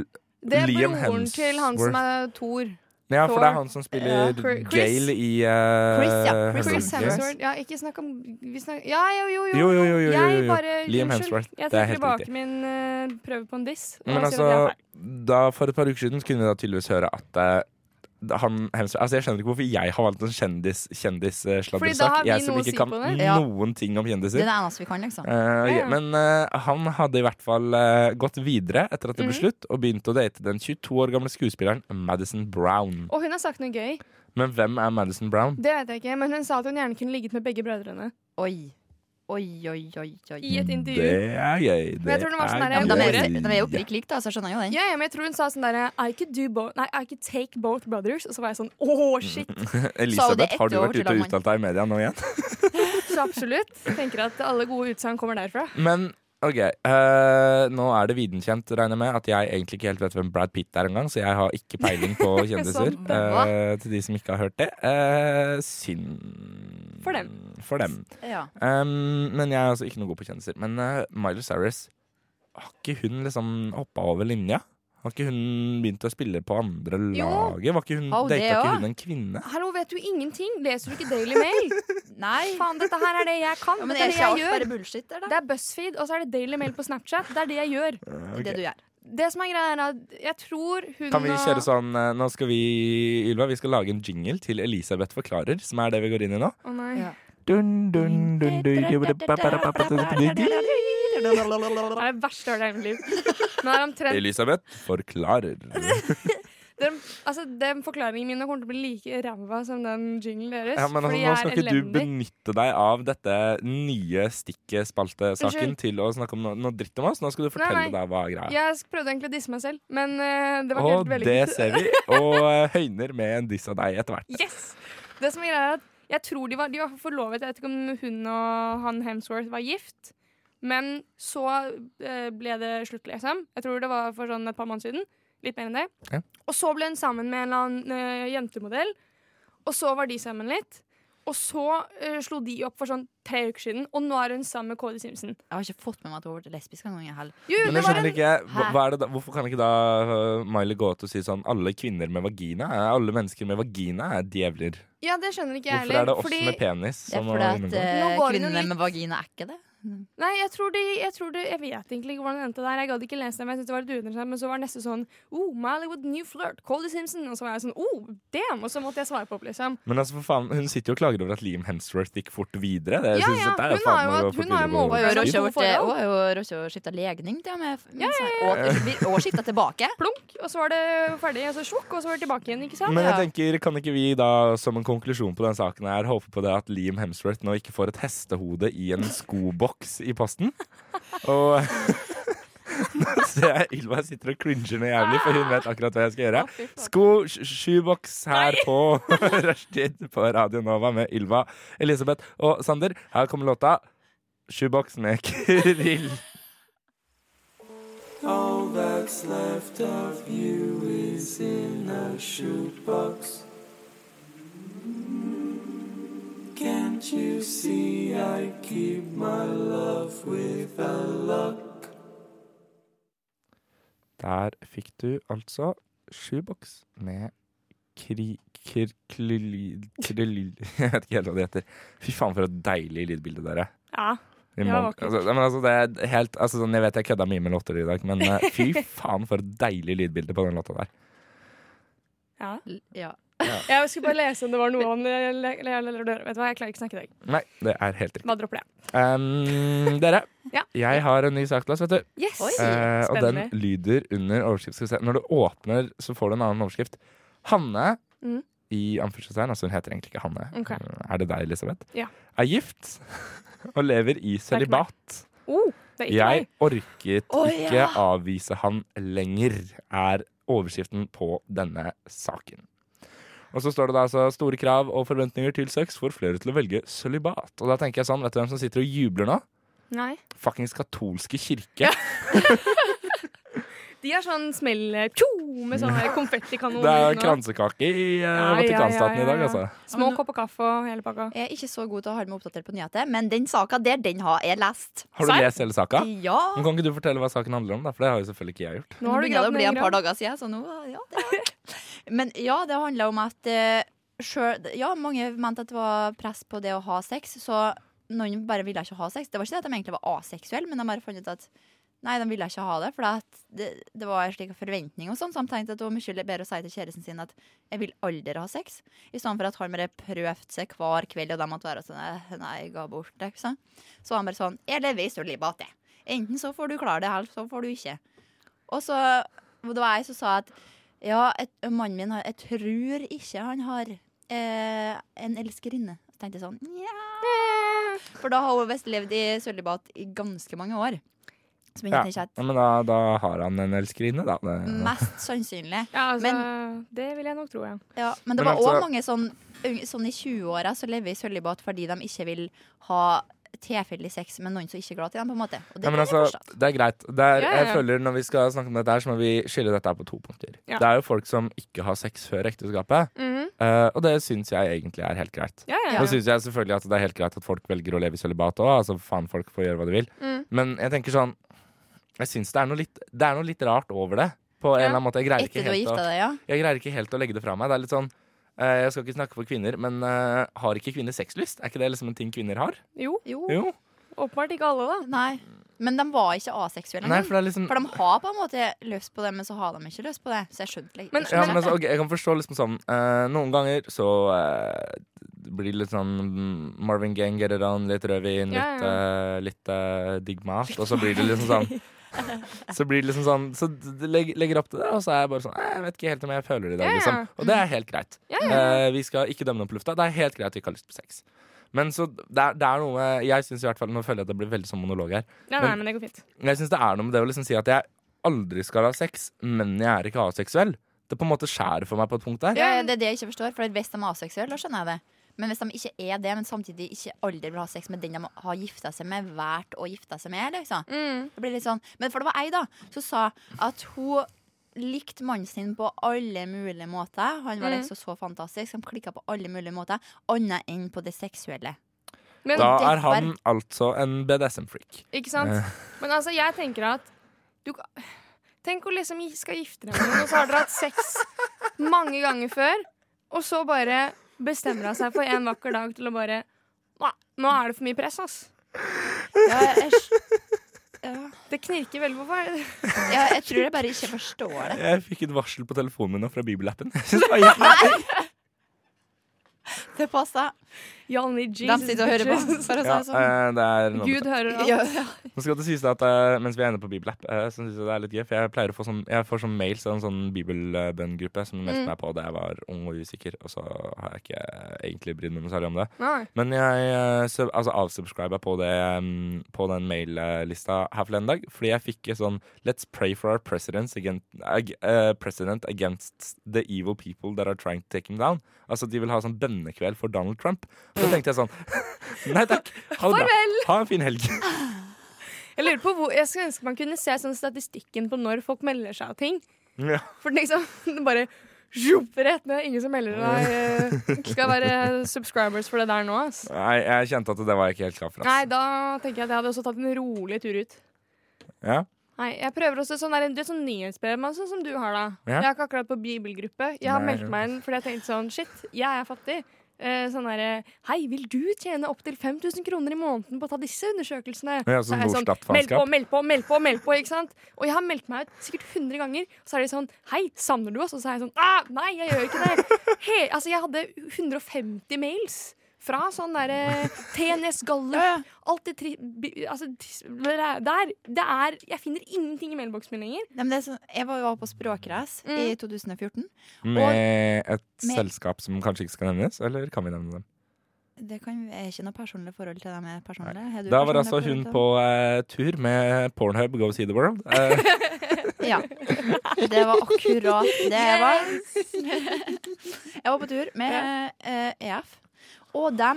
S5: det er
S3: Liam
S5: broren til han som er Thor.
S3: Ja, for det
S5: Thor.
S3: er han som
S4: Ja.
S3: spiller
S5: Chris.
S3: Gale i uh,
S4: Chris, ja. Chris
S5: Chris
S4: Hemsworth.
S5: Hemsworth. Ja, ikke snakk om vi snakker, Ja, jo, jo, jo.
S3: Jo, jo, jo, jo, jo, jo.
S5: Jeg bare
S3: Liam
S5: unnskyld.
S3: Hemsworth.
S5: Jeg
S3: Det er
S5: tar
S3: helt
S5: tilbake
S3: riktig.
S5: min eh, prøve på en diss. og
S3: Men
S5: sier at jeg
S3: altså,
S5: er feil.
S3: da, for et par uker siden så kunne vi da tydeligvis høre at eh, han, Hemsworth- altså jeg skjønner ikke hvorfor jeg har valgt en
S5: Fordi da har
S3: kjendis-kjendis-sladdersak.
S5: vi
S3: Jeg som
S5: noe å
S3: ikke
S5: si
S3: kan
S5: på det.
S4: Ja.
S3: noen ting om
S4: Det er
S3: kjendiser.
S4: det eneste vi kan, liksom.
S3: Eh,
S5: Ja,
S3: ja,
S5: ja.
S3: Men eh, han hadde i hvert fall eh, gått videre etter at det
S5: Mhm.
S3: ble slutt, og begynte å date den 22 år gamle skuespilleren Madison Brown.
S5: Og hun har sagt noe gøy.
S3: Men hvem er Madison Brown?
S5: Det vet jeg ikke, men hun sa at hun gjerne kunne ligget med begge brødrene.
S4: Oi. Oi, oi, oi, oi.
S5: I et
S3: Mm,
S5: intervju.
S3: Det er gøy.
S5: Men jeg tror den var sånn der,
S4: Ja, men de, er,
S3: gøy.
S4: de er jo prikk like, da, så jeg skjønner jo den.
S5: Ja, ja, men jeg tror hun sa sånn derre I could do both Nei, I could take both brothers. Og så var jeg sånn åh, shit.
S3: Mm. Elisabeth, har du
S4: etter
S3: vært ute og
S4: Overland.
S3: uttalt deg i media nå igjen?
S5: Så absolutt. Tenker at alle gode utsagn kommer derfra.
S3: *laughs* Men ok, eh, nå er det videnkjent, regner jeg med, at jeg egentlig ikke helt vet hvem Brad Pitt er engang, så jeg har ikke peiling på kjendiser.
S5: Sånn,
S3: eh, til de som ikke har hørt det. Eh, synd
S5: For dem.
S3: For dem.
S4: Ja.
S3: Um, men jeg er altså ikke noe god på kjendiser. Men eh, Miley Cyrus, har ikke hun liksom hoppa over linja? Har ikke hun begynt å spille på andre
S5: Jo.
S3: laget? Var ikke hun,
S4: Har hun det
S3: data ikke
S4: også?
S3: hun en kvinne?
S5: Hallo, vet du ingenting? Leser du ikke Daily Mail?
S4: Nei.
S5: Faen, dette her er det jeg kan.
S4: Ja, men
S5: dette
S4: er
S5: er det
S4: ikke
S5: jeg
S4: alt
S5: gjør.
S4: bare bullshit der, da?
S5: Det er BuzzFeed, og så er det Daily Mail på Snapchat. Det er det jeg gjør.
S4: Det er det du gjør.
S5: Det som er greia, er at jeg tror hun
S3: Kan vi
S5: og-
S3: kjøre sånn eh, Nå skal vi, Ylva, vi skal lage en jingle til Elisabeth forklarer, som er det vi går inn i nå.
S5: Å nei.
S4: Ja.
S3: Dun, dun, dun, dun,
S5: Det er det verste jeg har hørt i hele mitt liv. Men det er omtrent
S3: Elisabeth
S5: *laughs*
S3: forklarer.
S5: den, altså, den forklaringen min kommer til å bli like ræva som den jinglen deres.
S3: Ja, men altså,
S5: fordi
S3: nå
S5: jeg
S3: skal
S5: er
S3: ikke du
S5: elendig.
S3: benytte deg av dette nye stikket-spalte-saken
S5: Unnskyld.
S3: til å snakke om noe, noe dritt om oss. Nå skal du fortelle
S5: nei.
S3: deg hva greia er.
S5: Jeg sk- prøvde egentlig å disse meg selv, men eh, det var
S3: Og
S5: ikke helt
S3: det
S5: *laughs* vellykket.
S3: ser vi, og eh, høyner med en diss av deg etter hvert.
S5: Yes! Det som er greia, er at jeg tror de var, de var forlovet. Jeg vet ikke om hun og han Hemsworth var gift. Men så eh, ble det slutt, liksom. Jeg tror det var for sånn et par måneder siden. Litt mer enn det.
S3: Ja.
S5: Og så ble hun sammen med en eller annen eh, jentemodell. Og så var de sammen litt. Og så eh, slo de opp for sånn tre uker siden, og nå er hun sammen med Cody Simpson.
S4: Jeg har ikke fått med meg at hun har vært lesbisk engang. jeg heller.
S3: Men
S5: Jo, det
S3: jeg
S5: var
S3: skjønner
S5: en
S3: ikke, hva, hva er det da, Hvorfor kan ikke da øh, Miley gå ut og si sånn Alle kvinner med vagina, er- alle mennesker med vagina er djevler.
S5: Ja, det skjønner ikke jeg
S3: Hvorfor er det oss
S5: heller.
S3: med penis
S4: Det er
S3: som må
S4: fordi at
S3: unngå?
S4: eh,
S5: Nå går det jo
S4: kvinnene
S5: litt-
S4: med vagina er ikke det.
S5: Nei, jeg tror, de, jeg tror de Jeg vet egentlig ikke hvordan det endte der. Jeg gadd ikke lese det, men jeg syntes det var litt uinteressant. Men så var det neste sånn Oh, Miley with new flirt. Cody Simpson. Og så var jeg sånn Oh, damn! Og så måtte jeg svare på opp, liksom.
S3: Men altså, for faen, hun sitter jo og klager over at Liam Hemsworth gikk fort videre. Det, jeg
S5: Ja,
S3: synes
S5: ja,
S3: at det er jo
S5: hun
S3: faen
S5: har jo
S3: meg å
S5: hatt-
S3: gå
S5: hun har jo
S3: fort videre
S5: målet
S3: over
S5: å
S4: Hun
S5: gjøre
S3: tid.
S5: to
S4: har
S5: forhold.
S4: også skifta legning til og med. Og, og skifta tilbake.
S5: Plunk. Og så var det ferdig. Og så sjokk, og så var det tilbake igjen, ikke sant?
S3: Men jeg
S4: Ja.
S3: tenker, kan ikke vi da som en konklusjon på den saken her håpe på det at Liam Hemsworth nå ikke får et hestehode i en skoboks i
S4: *laughs*
S3: posten? Og *laughs* Nå ser jeg Ylva sitter og cringer noe jævlig, for hun vet akkurat hva jeg skal gjøre. Sko, sj- sjuboks her på *laughs* Rushtid på Radio Nova med Ylva, Elisabeth og Sander. Her kommer låta Sjuboks med *laughs* Kirill. Der fikk du altså sju boks med kri... Kir, klili, krili, *laughs* jeg vet ikke helt hva det heter. Fy faen, for et deilig lydbilde dere.
S5: Ja.
S3: I
S5: Ja,
S3: morgen-
S5: vakkert.
S3: altså, nei, men altså, det er helt, altså, sånn, jeg vet jeg kødda mye med låter i dag, men
S5: *laughs*
S3: eh, fy faen for et deilig lydbilde på den låta der.
S5: ja.
S4: Ja.
S5: Jeg skulle bare lese om det var noe han Vet du hva, jeg klarer ikke å snakke i dag.
S3: Nei, det er helt riktig.
S5: Bare dropper det.
S3: Um, dere,
S5: Ja.
S3: jeg har en ny sak til oss, vet du.
S5: Yes!
S4: Oi.
S3: Eh, og den
S5: Spennende.
S3: lyder under overskrift. Skal vi se. Når du åpner, så får du en annen overskrift. Hanne
S5: Mhm.
S3: i anførselstegn, altså hun heter egentlig ikke Hanne.
S5: Ok.
S3: Eh, Er det deg, Elisabeth?
S5: Ja.
S3: Er gift *laughs* og lever i
S5: ikke meg.
S3: sølibat.
S5: Oh, det er ikke
S3: Jeg
S5: meg.
S3: orket
S4: Å,
S3: ikke
S4: ja.
S3: avvise han lenger, er overskriften på denne saken. Og så står det da altså store krav og forventninger til sex får flere til å velge sølibat. Og da tenker jeg sånn, vet du hvem som sitter og jubler nå?
S5: Nei.
S3: Fuckings katolske kirke.
S5: De er sånn smell tjo med
S3: *laughs*
S5: sånne konfettikanoner.
S3: Det er
S5: og-
S3: kransekake i eh,
S5: Ja, ja,
S3: Vatikanstaten
S5: ja,
S3: i dag,
S5: ja.
S3: altså.
S5: Små kopper kaffe og hele pakka.
S4: Jeg er ikke så god til å holde meg oppdatert på nyheter, men den saka der, den har jeg lest.
S3: Har du
S5: Serr?
S3: lest hele saka?
S4: Ja.
S3: Men Kan ikke du fortelle hva saken handler om? da? For det har jo selvfølgelig ikke jeg gjort.
S5: Nå har du
S4: begynner det å
S5: gravd
S4: bli
S5: ned
S4: et par
S5: grav.
S4: dager siden, så nå ja, det er. Men ja, det handla om at eh, sjøl Ja, mange mente at det var press på det å ha sex, så noen bare ville ikke ha sex. Det var ikke det at de egentlig var aseksuelle, men de bare fant ut at Nei, de ville ikke ha det, for at det, det var en slik forventning. og sånn, Så de tenkte at det var mye bedre å si til kjæresten sin at 'jeg vil aldri ha sex', i stedet for at han bare prøvde seg hver kveld, og de måtte være sånn «Nei, 'nei, jeg ga bort det'. ikke sant? Så var han bare sånn 'jeg lever i sølibat, jeg'. Enten så får du klare det, eller så får du ikke. Og så og det var jeg som sa at ja, et, mannen min har Jeg tror ikke han har eh, en elskerinne. Så tenkte jeg sånn nja. For da har hun visst levd i sølibat i ganske mange år. Så begynte jeg å
S3: Ja,
S4: tenke at
S3: Men da, da har han en elskerinne, da. Det,
S4: mest sannsynlig.
S5: Ja, altså,
S4: Men-
S5: det vil jeg nok tro, ja.
S4: Ja, men det
S3: Men
S4: var òg
S3: altså-
S4: mange sånn, unge- sånn i 20-åra som lever i sølibat fordi de ikke vil ha tilfeldig sex med noen som ikke er glad i dem, på en måte. Og det
S3: ja,
S4: kan
S3: men
S4: jeg
S3: altså,
S4: forstå.
S3: det er greit. Det er,
S5: Ja, ja,
S3: jeg
S5: ja.
S3: føler Når vi skal snakke om dette, her så må vi skille dette her på to punkter.
S5: Ja.
S3: Det er jo folk som ikke har sex før ekteskapet,
S5: Mhm.
S3: eh, og det syns jeg egentlig er helt greit.
S5: ja, ja,
S3: Så
S5: ja.
S3: syns jeg selvfølgelig at det er helt greit at folk velger å leve i sølibat òg. Altså, faen, folk får gjøre hva de vil.
S5: Mm.
S3: Men jeg tenker sånn Jeg syns det, er noe litt- det er noe litt rart over det. På en
S5: Ja.
S3: eller annen måte. Jeg greier, ikke
S4: Etter du har
S3: helt
S4: gifta
S3: å,
S4: deg, ja.
S3: jeg greier ikke helt å legge det fra meg. Det er litt sånn eh, Jeg skal ikke snakke for kvinner, men eh, har ikke kvinner sexlyst? Er ikke det liksom en ting kvinner har?
S5: Jo,
S4: Jo.
S3: Jo.
S5: åpenbart ikke alle, da.
S4: Nei. Men de var ikke aseksuelle
S3: Nei,
S4: engang.
S3: for det er liksom
S4: For de har på en måte løst på det, men så har de ikke løst på det. Så jeg skjønte litt.
S5: Men-
S3: ja, men altså, ok, Jeg kan forstå liksom sånn eh, Noen ganger så eh, blir det litt sånn mm, Marvin Gaye, Get It On, litt rødvin, litt,
S5: Ja,
S3: eh, litt eh, digg mat. Og så blir det liksom sånn Så blir det liksom sånn Så det legg, legger opp til det, og så er jeg bare sånn eh, Jeg vet ikke helt om jeg føler det i dag,
S5: Ja, Mm. ja.
S3: liksom. Og det er helt greit.
S5: Ja,
S3: Eh, vi skal ikke dømme noen på lufta. Det er helt greit at vi ikke har lyst på sex. Men så det er, det er noe Jeg synes i hvert fall Nå føler jeg at det blir veldig sånn monolog her.
S5: Nei, nei, men det går fint.
S3: Jeg synes det er noe med det å liksom si at jeg aldri skal ha sex, men jeg er ikke aseksuell. Det på en måte skjærer for meg på et punkt der.
S4: ja, ja, det er det jeg ikke forstår. For hvis de er aseksuelle, da skjønner jeg det. Men hvis de ikke er det, men samtidig ikke aldri vil ha sex med den de har gifta seg med, vært å gifte seg med, liksom.
S5: Mm.
S4: Det blir litt sånn. Men for det var ei, da, som sa at hun likte mannen sin på alle mulige måter. Han var liksom så fantastisk. Han klikka på alle mulige måter, annet enn på det seksuelle.
S5: Men,
S3: Da
S4: det
S3: er han
S4: var-
S3: altså en BDSM-freak.
S5: ikke sant? Men altså, jeg tenker at du ka- Tenk å liksom gi- skal gifte deg med noen, og så har dere hatt sex mange ganger før, og så bare bestemmer hun seg for en vakker dag til å bare Nei, nå er det for mye press, ass.
S4: Ja, jeg,
S5: Det knirker veldig på meg.
S4: ja, jeg tror jeg bare ikke forstår det.
S3: Jeg fikk et varsel på telefonen min nå fra *laughs* bibelappen. Jeg synes det var gitt meg.
S4: Det passa.
S5: Y'all need
S4: De
S5: Jesus.
S4: sitter og hører på.
S5: bitches.
S4: For å si
S3: Ja,
S4: det sånn.
S3: eh, det er noe
S5: Gud hører alt.
S4: Ja, ja.
S3: Nå skal det sies da at eh, Mens vi er inne på bibelapp, eh, så synes jeg det er litt gøy. For jeg pleier å få sånn Jeg får sånn mails av en sånn bibelbønngruppe som jeg meldte
S5: Mm.
S3: meg på da jeg var ung og usikker, og så har jeg ikke egentlig brydd meg noe særlig om det.
S5: Nei.
S3: Men jeg eh, sub, altså avsubscriba på, det, mm, på den maillista her forleden dag, fordi jeg fikk et sånn Let's pray for our presidents against, ag, eh, president against the evil people that are trying to take him down. Altså de vil ha sånn bønnekveld for Donald Trump. Så tenkte jeg sånn *laughs* Nei takk. Ha det bra.
S5: Farvel!
S3: Ha en fin helg. *laughs*
S5: Jeg lurer på hvor, jeg skulle ønske man kunne se sånn statistikken på når folk melder seg av ting.
S3: Ja.
S5: For liksom, *laughs* det bare Sjupp, rett ned. Ingen som melder deg. eh, Skal
S3: *laughs*
S5: være subscribers for det der nå. Ass.
S3: Nei, jeg kjente at det var jeg ikke helt klar for.
S5: Nei,
S3: ass.
S5: da tenker jeg at jeg hadde også tatt en rolig tur ut.
S3: Ja.
S5: Nei, jeg prøver også sånn der, Du er sånn nyhetsbrev men sånn som du har, da.
S3: Ja.
S5: Jeg har ikke akkurat på bibelgruppe. Jeg har
S3: Nei,
S5: meldt
S3: ja.
S5: meg inn fordi jeg tenkte sånn Shit, jeg er fattig. Eh, sånn derre Hei, vil du tjene opptil 5000 kroner i måneden på å ta disse undersøkelsene?
S3: Ja,
S5: Så
S3: sånn
S5: er jeg
S3: Nordstat-faenskap.
S5: meld på, meld på, meld på, meld på, ikke sant? Og jeg har meldt meg ut sikkert 100 ganger. Så er de sånn Hei, savner du oss? Og så er jeg sånn ah, Nei, jeg gjør ikke det. *laughs* He, altså, jeg hadde 150 mails. Fra sånn derre TNS Gallup Alt det tri... bi- Altså, tis- der. Det er Jeg finner ingenting i mailboksen min lenger.
S4: *laughs* Nei, men det er sånn, jeg var jo på språkreis i 2014.
S3: Med et
S4: med-
S3: selskap som kanskje ikke skal nevnes, eller kan vi nevne dem?
S4: Det kan, er ikke noe personlig forhold til dem. er personlig. Har du
S3: Da var
S4: personlig
S3: altså
S4: forhold
S3: hun
S4: til dem?
S3: på eh, tur med Pornhub Go See The World. Eh,
S4: Ja. *laughs* Det var akkurat det jeg var. *laughs* Jeg var på tur med eh, EF, og de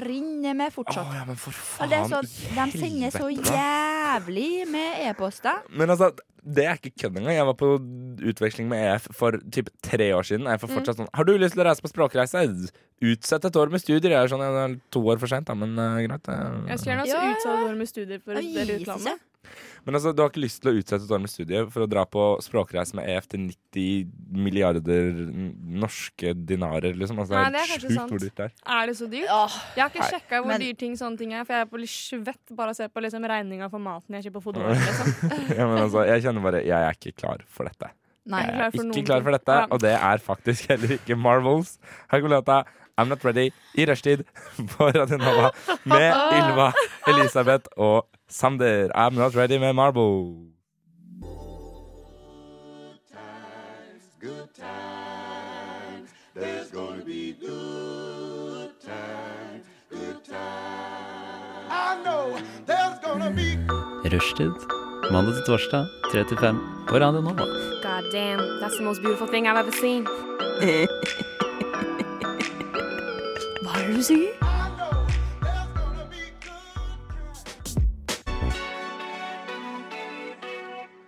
S4: renner med fortsatt.
S3: Å, ja, men for
S4: Og
S3: faen
S4: det er sånn,
S3: i
S4: de sender så
S3: helvete.
S4: jævlig med e-poster.
S3: Men altså, det er ikke kødd engang. Jeg var på utveksling med EF for typ tre år siden. og Jeg får fortsatt sånn Har du lyst til å reise på språkreise? Utsett et år med studier. Jeg er sånn jeg er to år for sent, da, men eh, greit. eh.
S5: Jeg skulle gjerne også
S4: Ja, ja, ja.
S5: utsatt våre med studier for
S4: Og
S5: en del i
S4: gis ikke.
S5: utlandet.
S3: Men altså, du har ikke lyst til å utsette et år med studiet for å dra på språkreise med EF til 90 milliarder n- norske dinarer, liksom? Altså,
S5: Nei, det er kanskje
S3: sjukt
S5: sant.
S3: hvor dyrt det er. *laughs*
S5: Er det så dyrt?
S4: Åh,
S5: Jeg har ikke
S3: Nei,
S5: sjekka hvor
S4: men-
S5: dyr ting sånne ting er, for jeg er på litt svett bare av å se på liksom regninga for maten jeg kjøper på fotball. Liksom.
S3: Ja, men altså, jeg kjenner bare Jeg er ikke klar for dette.
S4: Nei.
S3: Jeg
S5: klar
S3: er
S5: for
S3: ikke
S5: noen
S3: klar
S5: ting.
S3: for dette,
S5: Ja.
S3: og det er faktisk heller ikke Marvels. Her kommer låta I'm Not Ready i rushtid på Radio Nova med Ylva, Elisabeth og Sander. I'm Not Ready med Marvel.
S8: Rushtid. Mandag til torsdag, 3 til 5 på Radio Nova.
S5: *laughs* God damn, that's the most beautiful thing I've ever seen. Hva er det du sier?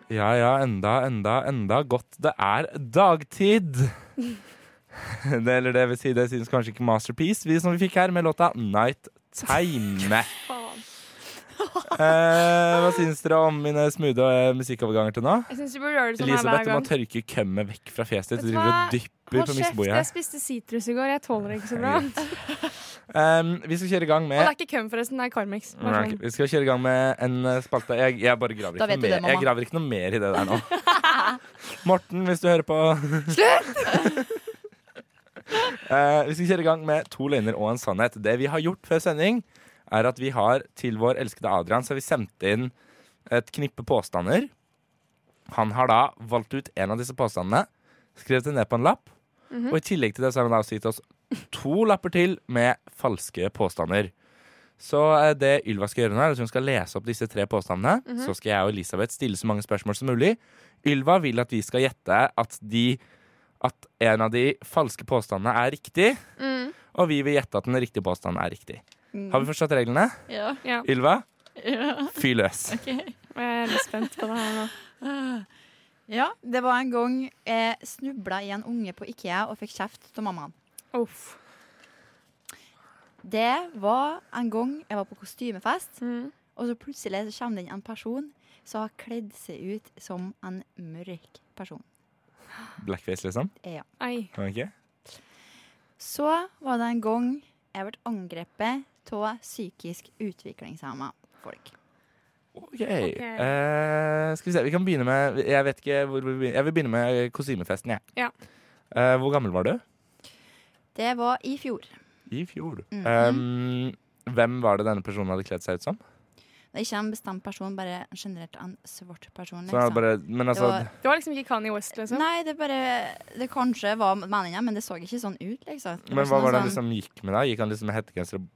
S3: Ja ja, enda, enda, enda godt det er dagtid. *laughs* Det, eller det vil si, det synes kanskje ikke Masterpiece, vi som vi fikk her med låta Night Time. Eh, hva syns dere om mine smoothie eh, musikkoverganger til nå?
S5: Jeg syns du burde gjøre det sånn her
S3: Elisabeth,
S5: hver
S3: du må
S5: gang.
S3: tørke kømmet vekk fra fjeset ditt. Du
S5: Vet du
S3: driver og
S5: hva?
S3: dypper på misboet
S5: jeg
S3: her.
S5: spiste sitrus i går. Jeg tåler det ikke så bra.
S3: Um, vi skal kjøre i gang
S5: Og det
S3: med
S5: er ikke køm, forresten. Det er Carmex. Bare
S3: Nei,
S5: sånn.
S3: vi skal kjøre i gang med en eh, spalte. Jeg, jeg bare graver
S4: Da
S3: ikke, noe
S4: vet du det,
S3: mer. jeg
S4: mamma.
S3: graver ikke noe mer i det der
S4: *laughs*
S3: nå. Morten, hvis du hører på Slutt! *laughs* Eh, vi skal kjøre i gang med to løgner og en sannhet. Det vi har gjort før sending, er at vi har til vår elskede Adrian så har vi sendt inn et knippe påstander. Han har da valgt ut en av disse påstandene, skrevet det ned på en lapp.
S4: Mhm.
S3: Og i tillegg til det så har han da også gitt oss to lapper til med falske påstander. Så eh, det Ylva skal gjøre nå, er at hun skal lese opp disse tre påstandene. Så skal jeg og Elisabeth stille så mange spørsmål som mulig. Ylva vil at vi skal gjette at de at en av de falske påstandene er riktig. og vi vil gjette at den riktige påstanden er riktig. Har vi forstått reglene?
S4: Ja.
S5: Ja.
S3: Ylva,
S4: Ja.
S3: fyr løs.
S5: Jeg er litt spent på det her nå.
S4: ja. Det var en gang jeg snubla i en unge på Ikea og fikk kjeft av mammaen.
S5: Uff.
S4: Det var en gang jeg var på kostymefest,
S5: Mm.
S4: og så plutselig så kommer det inn en person som har kledd seg ut som en mørk person.
S3: Blackface, liksom.
S5: Ei.
S3: Ok.
S4: Så var det en gang jeg ble angrepet av psykisk utviklingshemma folk.
S3: Ok. Eh, skal vi se, vi kan begynne med Jeg vet ikke hvor vi begynner. Jeg vil begynne med kostymefesten, jeg.
S5: Ja.
S3: Eh, hvor gammel var du?
S4: Det var i fjor.
S3: I fjor.
S4: Mhm.
S3: um, hvem var det denne personen hadde kledd seg ut som?
S4: Det er ikke en bestemt person, bare generelt en svart person.
S3: Så han
S4: liksom.
S3: bare, men
S4: Det
S3: altså,
S4: var-
S5: Det var liksom ikke Kanye West, liksom.
S4: Nei, det bare Det kanskje var meninga, men det så ikke sånn ut, liksom. Det
S3: men hva
S4: sånn-
S3: var det han
S4: sånn-
S3: liksom gikk med da? Gikk han liksom med hettegenser og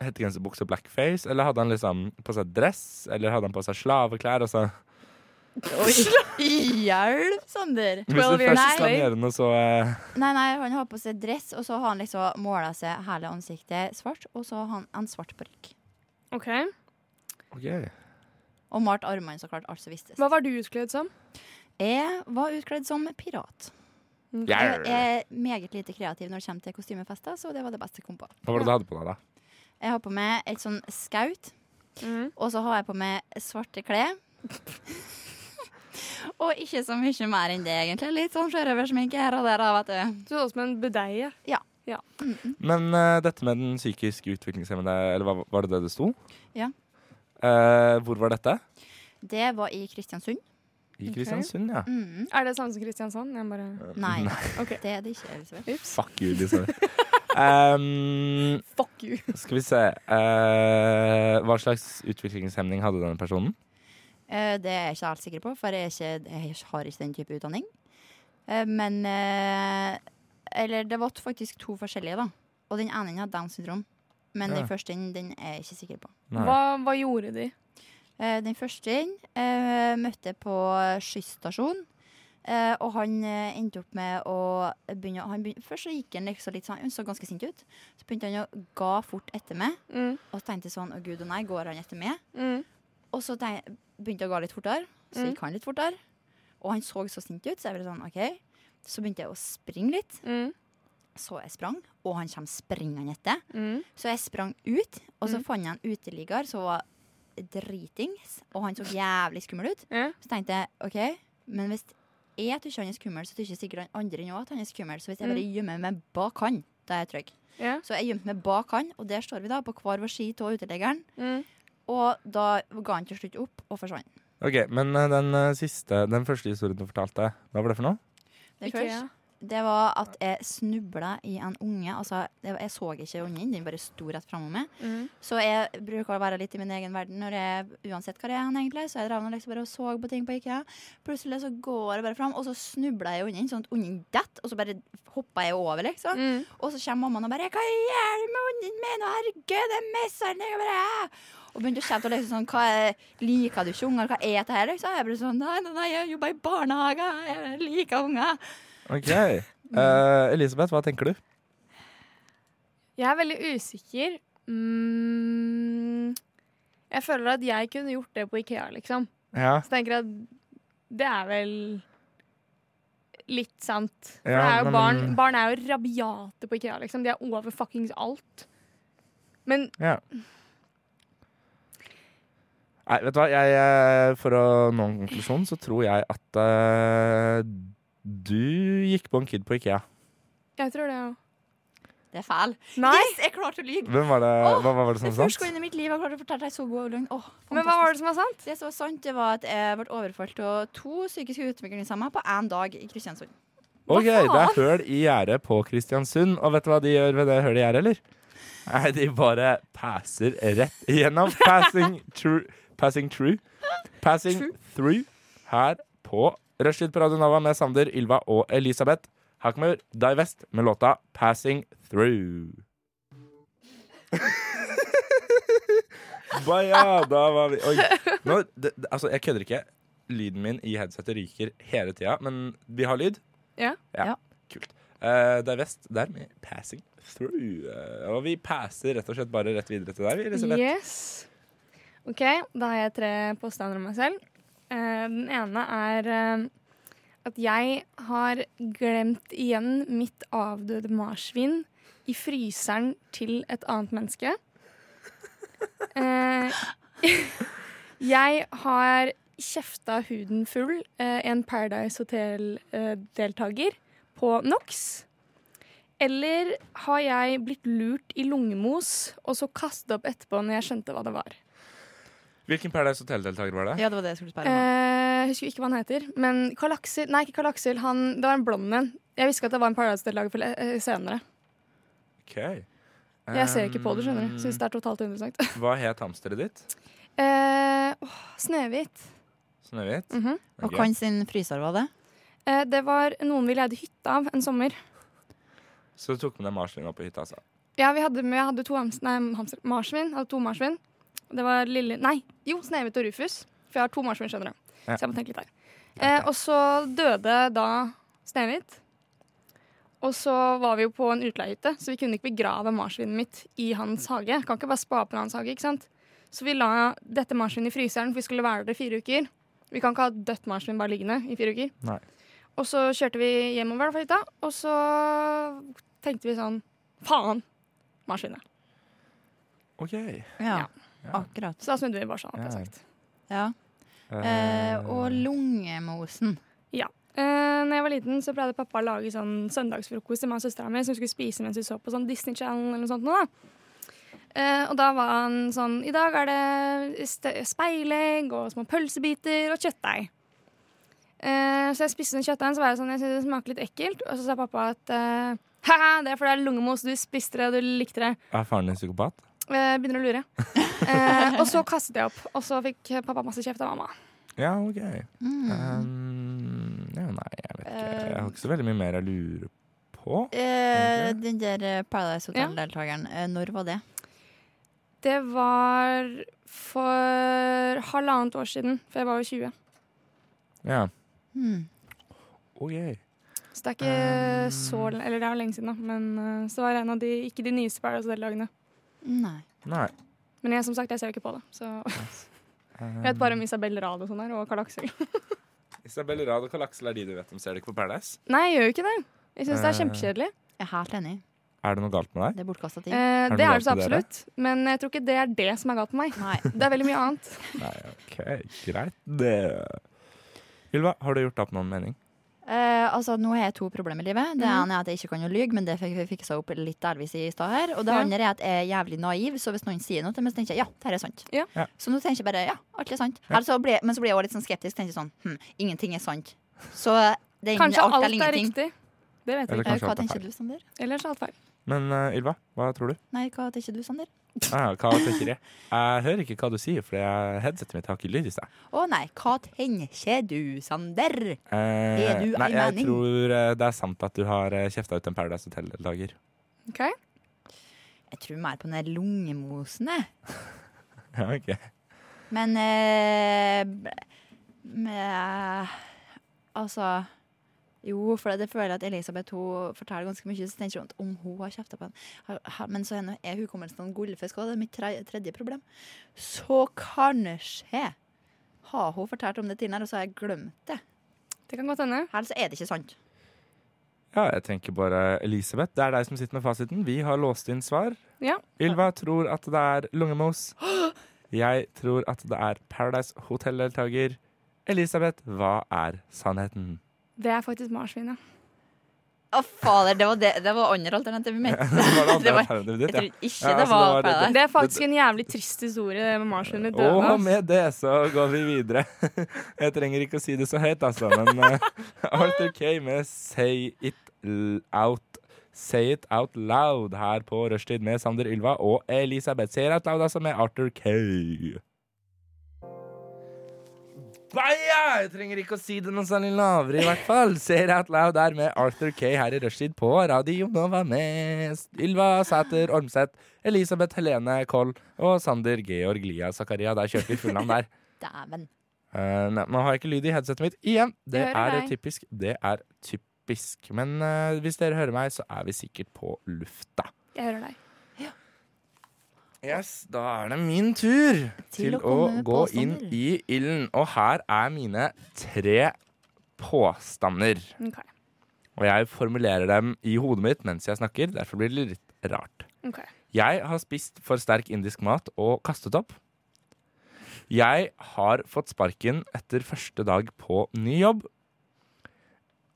S3: Hettegenserbukse og blackface, eller hadde han liksom på seg dress? Eller hadde han på seg slaveklær? Altså, Og så,
S4: Oi. Hjelp, Sander!
S3: hvis
S5: Twelve
S3: du
S5: years
S3: først
S5: a
S3: kan
S5: slave.
S3: gjøre noe, så eh,
S4: Nei, nei, han har på seg dress, og så har han liksom måla seg hele ansiktet svart, og så har han en svart parykk.
S5: Ok.
S3: OK.
S4: Og malt armene, så klart, alt som vistes.
S5: Hva var du utkledd som?
S4: Jeg var utkledd som pirat. Jeg er meget lite kreativ når det kommer til kostymefester, så det var det beste jeg kom på.
S3: Hva var det du hadde på deg, da?
S4: Jeg har på meg et sånn skaut,
S5: Mhm.
S4: og så har jeg på meg svarte klær. *laughs* og ikke så mye mer enn det, egentlig. Litt sånn sjørøversminke her og der, da, vet du.
S5: Du så ut som en budeie.
S4: Mm.
S3: Men eh, dette med den psykisk utviklingshemmede, eller hva, var det det det sto?
S4: Ja.
S3: Eh, hvor var dette?
S4: Det var i Kristiansund.
S3: I Kristiansund, ja.
S4: Mhm.
S5: Er det samme som Kristiansand? Jeg bare
S4: Nei. *laughs*
S5: Ok.
S4: Det er det ikke. Elisabeth.
S3: Fuck you, liksom. *laughs* Ehm,
S5: Fuck you!
S3: skal vi se eh, Hva slags utviklingshemning hadde denne personen?
S4: Eh, Det er jeg ikke helt sikker på, for jeg, er ikke, jeg har ikke den type utdanning. Eh, Men eh, Eller det var faktisk to forskjellige, da. Og den ene hadde Downs syndrom. Men
S3: Ja.
S4: den første den, den er jeg ikke sikker på.
S3: Nei.
S5: Hva, hva gjorde de?
S4: Eh, Den første eh, møtte jeg på skysstasjon. eh, og han eh, endte opp med å begynne han begyn- Først så gikk han liksom litt sånn, han så ganske sint ut. Så begynte han å ga fort etter meg.
S5: Mm.
S4: Og så tenkte jeg sånn Å, gud og nei, går han etter meg?
S5: Mm.
S4: Og så tenk- begynte jeg å gå litt fortere. Så
S5: Mm.
S4: gikk han litt fortere. Og han så så sint ut, så jeg ble sånn, ok. Så begynte jeg å springe litt.
S5: Mm.
S4: Så jeg sprang, og han kom springende etter.
S5: Mm.
S4: Så jeg sprang ut, og så
S5: Mm.
S4: fant jeg en uteligger som var dritings, og han så jævlig skummel ut.
S5: Ja.
S4: Så tenkte jeg, ok, men hvis jeg tykker han er skummel, så tykker sikkert han andre nå at han er skummel. Så hvis jeg bare
S5: Mm.
S4: gjemmer meg bak han, da er jeg trygg.
S5: Ja.
S4: Så jeg gjemte meg bak han, og der står vi da på hver vår ski av uteliggeren.
S5: Mm.
S4: Og da ga han til slutt opp og forsvant.
S3: OK, men eh, den eh, siste, den første historien du fortalte, hva var det for noe?
S4: Det,
S5: Ikke
S4: først, det var at jeg snubla i en unge. Altså, det var, jeg så ikke ungen, den bare sto rett framom meg.
S5: Mm.
S4: Så jeg bruker å være litt i min egen verden når jeg, uansett hva det er. han egentlig Så jeg drev nå liksom bare og så på ting på IKEA. Plutselig så går jeg bare fram, og så snubla jeg i ungen, sånn at ungen detter. Og så bare hoppa jeg over, liksom.
S5: Mm.
S4: Og så kommer mammaen og bare 'Hva gjør du med ungen min?' Og 'Herregud, det er mishandling!' Og bare «Æ!» Og begynte å kjefte og liksom sånn 'Hva er, liker du ikke unger? Hva er dette her?' Liksom. Jeg ble sånn 'Nei, nei, nei, jeg jobber i barnehage. Jeg liker unger.' *laughs*
S3: OK. Eh, Elisabeth, hva tenker du?
S5: Jeg er veldig usikker. Mm. Jeg føler at jeg kunne gjort det på Ikea, liksom.
S3: Ja.
S5: Så tenker jeg at det er vel litt sant. For
S3: Ja,
S5: det er jo
S3: men-
S5: barn, barn er jo rabiate på IKEA, liksom. De er over fuckings alt. Men
S3: Ja. Nei, vet du hva? Jeg, eh, for å nå en konklusjon, så tror jeg at eh, du gikk på en kid på Ikea.
S5: jeg tror det òg.
S4: Det er fæl.
S5: Nei!
S4: Yes, jeg klarte å lyve!
S3: Hvem var det,
S4: Åh,
S3: hva var det
S4: Det
S3: som
S4: er
S3: sant?
S4: første gang i mitt liv jeg klarte å fortelle deg så god løgn. Åh,
S5: Men hva var det som var sant?
S4: Det som var sant, det var at jeg ble overfalt av to psykisk utviklingshemmede på én dag i Kristiansund.
S3: Ok,
S5: Hva
S3: det er
S5: faen?
S3: høl i gjerdet på Kristiansund. Og vet du hva de gjør ved det hølet i gjerdet, eller? Nei, de bare passer rett igjennom. Passing true. Passing true. Passing through her på Rushtid på Radio Nova med Sander, Ylva og Elisabeth. Her kommer Die West med låta 'Passing Through'. *laughs* Ba ja, da var vi Oi. Nå, det, det- altså, jeg kødder ikke. Lyden min i headsetet ryker hele tida, men vi har lyd.
S5: Ja.
S3: Ja.
S4: Ja.
S3: Kult. Eh, det er vest. Der med 'passing through'. Eh, og vi passer rett og slett bare rett videre til deg, vi, Elisabeth.
S5: Yes. OK, da har jeg tre påstander om meg selv. Eh, den ene er eh, at jeg har glemt igjen mitt avdøde marsvin i fryseren til et annet menneske. Eh, *laughs* jeg har kjefta huden full eh, en Paradise Hotel-deltaker på NOx. Eller har jeg blitt lurt i lungemos og så kasta opp etterpå når jeg skjønte hva det var?
S3: Hvilken Paradise Hotel-deltaker var det?
S4: Ja, det var det jeg skulle spørre om.
S5: Eh, jeg husker ikke hva han heter, men Karl Aksel Nei, ikke Karl Aksel. Han, det var en blond en. Jeg visste ikke at det var en Paradise-deltaker for- eh, senere.
S3: Ok.
S5: Jeg ser ikke på det, skjønner du. Syns det er totalt uinteressant.
S3: Um, Hva het hamsteret ditt?
S5: *laughs* Eh, åh, Snehvit.
S3: Snøhvit?
S5: Mhm.
S4: Og hvem sin fryser var det?
S5: Eh, det var noen vi leide hytte av en sommer.
S3: Så du tok med deg marslinga på hytta, altså?
S5: Ja, vi hadde, med, jeg hadde to hamster, nei, hamster, marsvin. Jeg Hadde to marsvin. Det var lille Nei, jo, Snehvit og Rufus. For jeg har to marsvin, skjønner du.
S3: Ja.
S5: Så jeg må tenke litt der. Eh, og så døde da Snehvit. Og så var vi jo på en utleiehytte, så vi kunne ikke begrave marsvinet mitt i hans hage. Jeg Kan ikke bare spa på hans hage, ikke sant? Så vi la dette marsvinet i fryseren, for vi skulle være der i fire uker. Vi kan ikke ha et dødt marsvin bare liggende i fire uker.
S3: Nei.
S5: Og så kjørte vi hjemover da fra hytta, og så tenkte vi sånn Faen! Marsvinet.
S3: OK.
S4: Ja,
S5: Ja.
S4: akkurat.
S5: Så da snudde vi bare sånn.
S3: Ja.
S5: Ja. Sagt.
S4: Ja. Eh, og lungemosen.
S5: Eh, når jeg var liten, så pleide pappa å lage sånn søndagsfrokost til meg og søstera mi, som skulle spise mens vi så på sånn Disney Channel eller noe sånt. Nå, da. Eh, og da var han sånn I dag er det ste- speilegg og små pølsebiter og kjøttdeig. Eh, så jeg spiste den kjøttdeigen, så var jeg sånn Jeg synes det smaker litt ekkelt. Og så sa pappa at eh, haha, det er fordi det er lungemos, du spiste det, og du likte det.
S3: Er faren din psykopat?
S5: Eh, begynner
S3: *laughs*
S5: å lure. Eh, og så kastet jeg opp, og så fikk pappa masse kjeft av mamma.
S3: Ja, OK.
S4: Mm.
S3: Eh, Um, ja, nei, jeg vet ikke. Jeg har ikke så veldig mye mer jeg lurer på.
S4: Eh, den der eh, Paradise Hotel-deltakeren, eh, når var det?
S5: Det var for halvannet år siden, for jeg var jo 20.
S3: Ja.
S4: Hmm.
S3: OK.
S5: Så det er ikke så l- Eller det er jo lenge siden, da. Men eh, så var det en av de Ikke de nyeste Paradise Hotel-lagene.
S4: Nei.
S3: Nei.
S5: Men jeg som sagt, jeg ser jo ikke på det. Så *laughs* jeg vet bare om Isabel Rad og sånn her, og Karl Aksel. *laughs*
S3: Isabel Rad og Karl Aksel er de du vet om. Ser du ikke på Paradise?
S5: Nei, jeg gjør jo ikke det. Jeg syns det er
S3: Eh,
S5: kjempekjedelig.
S4: Jeg er helt enig.
S3: Er det noe galt med deg?
S4: Det er bortkasta tid.
S5: Eh,
S3: det
S5: det er
S3: galt
S5: det så
S3: med dere?
S5: absolutt. Men jeg tror ikke det er det som er galt med meg.
S4: Nei.
S5: *laughs* Det er veldig mye annet.
S3: Nei, OK. Greit, det. Ylva, har du gjort deg opp noen mening?
S4: Eh, altså, nå har jeg to problemer i livet. Det
S5: Mhm.
S4: ene er at jeg ikke kan å lyge, men det fikk vi fiksa opp litt delvis i stad her. Og det
S5: Ja.
S4: andre er at jeg er jævlig naiv, så hvis noen sier noe til meg, så tenker jeg ja, dette er sant.
S5: Ja.
S3: Ja.
S4: Så nå tenker jeg bare ja, alt er sant. Eller så blir jeg- men så blir jeg også litt sånn skeptisk, tenker sånn hm, ingenting er sant. Så det er
S5: Kanskje
S4: enten alt
S5: alt
S4: eller
S5: er riktig.
S4: ingenting.
S5: Det vet jeg
S3: Eller
S5: ikke.
S4: Eh,
S3: kanskje
S4: Hva
S3: alt er
S4: tenker
S3: feil?
S4: du, Sander?
S5: Ellers er alt feil.
S3: Men eh, Ylva, hva tror du?
S4: Nei, hva tenker du, Sander?
S3: Ah, hva tenker jeg? Jeg hører ikke hva du sier, for jeg- headsetet mitt har ikke lyd i seg.
S4: Å nei, hva tenker du,
S3: Eh,
S4: Sander? Har du ei
S3: nei, jeg
S4: mening?
S3: tror eh, det er sant at du har eh, kjefta ut en Paradise Hotel-deltaker.
S5: Ok?
S4: Jeg tror mer på den der lungemosen, jeg.
S3: Ja, *laughs* ok.
S4: Men eh, b- med, Altså Jo, for det føler jeg at Elisabeth hun forteller ganske mye. Så tenker hun at om hun har kjefta på henne. har- har- Men så er nå- er hukommelsen en gullfisk òg. Det er mitt tre, tredje problem. Så kanskje har hun fortalt om det tidligere, og så har jeg glemt det.
S5: Det kan godt hende.
S4: Eller så er det ikke sant.
S3: Ja, jeg tenker bare Elisabeth. Det er deg som sitter med fasiten. Vi har låst inn svar.
S5: Ja.
S3: Ylva tror at det er lungemos. Jeg tror at det er Paradise Hotel-deltaker. Elisabeth, hva er
S4: *laughs*
S3: sannheten?
S5: Det er faktisk marsvinet.
S4: Å, fader, det var, det, det var andre alternativet mitt.
S3: *laughs* Det var det andre
S4: *laughs* Det var-
S3: alternativet
S4: Jeg
S3: ditt,
S4: tror
S3: ja.
S4: ikke
S3: Ja, altså,
S4: det
S3: det
S4: var
S3: var det-
S4: Paradise.
S5: Det er faktisk en jævlig trist historie det med marsvinet døende.
S3: Og med det så går vi videre. *laughs* Jeg trenger ikke å si det så høyt, altså,
S4: *laughs*
S3: men eh, Arthur Kay med Say It L- Out. Say It Out Loud her på Rushtid med Sander Ylva og Elisabeth. Say It Out Loud, altså, med Arthur Kay. Baja! Jeg trenger ikke å si det noe særlig lavere, i hvert fall. Say It Out Loud der med Arthur Kay her i Rushtid på Radio Nova med Ylva Sæter Ormseth, Elisabeth Helene Koll og Sander Georg Lia Zakaria. Der kjørte vi fullnavn der.
S4: Dæven.
S3: Eh, nei, nå har jeg ikke lyd i headsetet mitt igjen. Det
S5: Jeg hører
S3: er
S5: deg.
S3: typisk. Det er typ typisk. Men eh, hvis dere hører meg, så er vi sikkert på lufta.
S5: Jeg hører deg.
S3: Yes, Da er det min tur til,
S4: å
S3: å,
S4: komme med
S3: gå inn
S4: påstander.
S3: i ilden. Og her er mine tre påstander.
S5: Ok,
S3: Og jeg formulerer dem i hodet mitt mens jeg snakker, derfor blir det litt rart.
S5: ok.
S3: Jeg har spist for sterk indisk mat og kastet opp. Jeg har fått sparken etter første dag på ny jobb.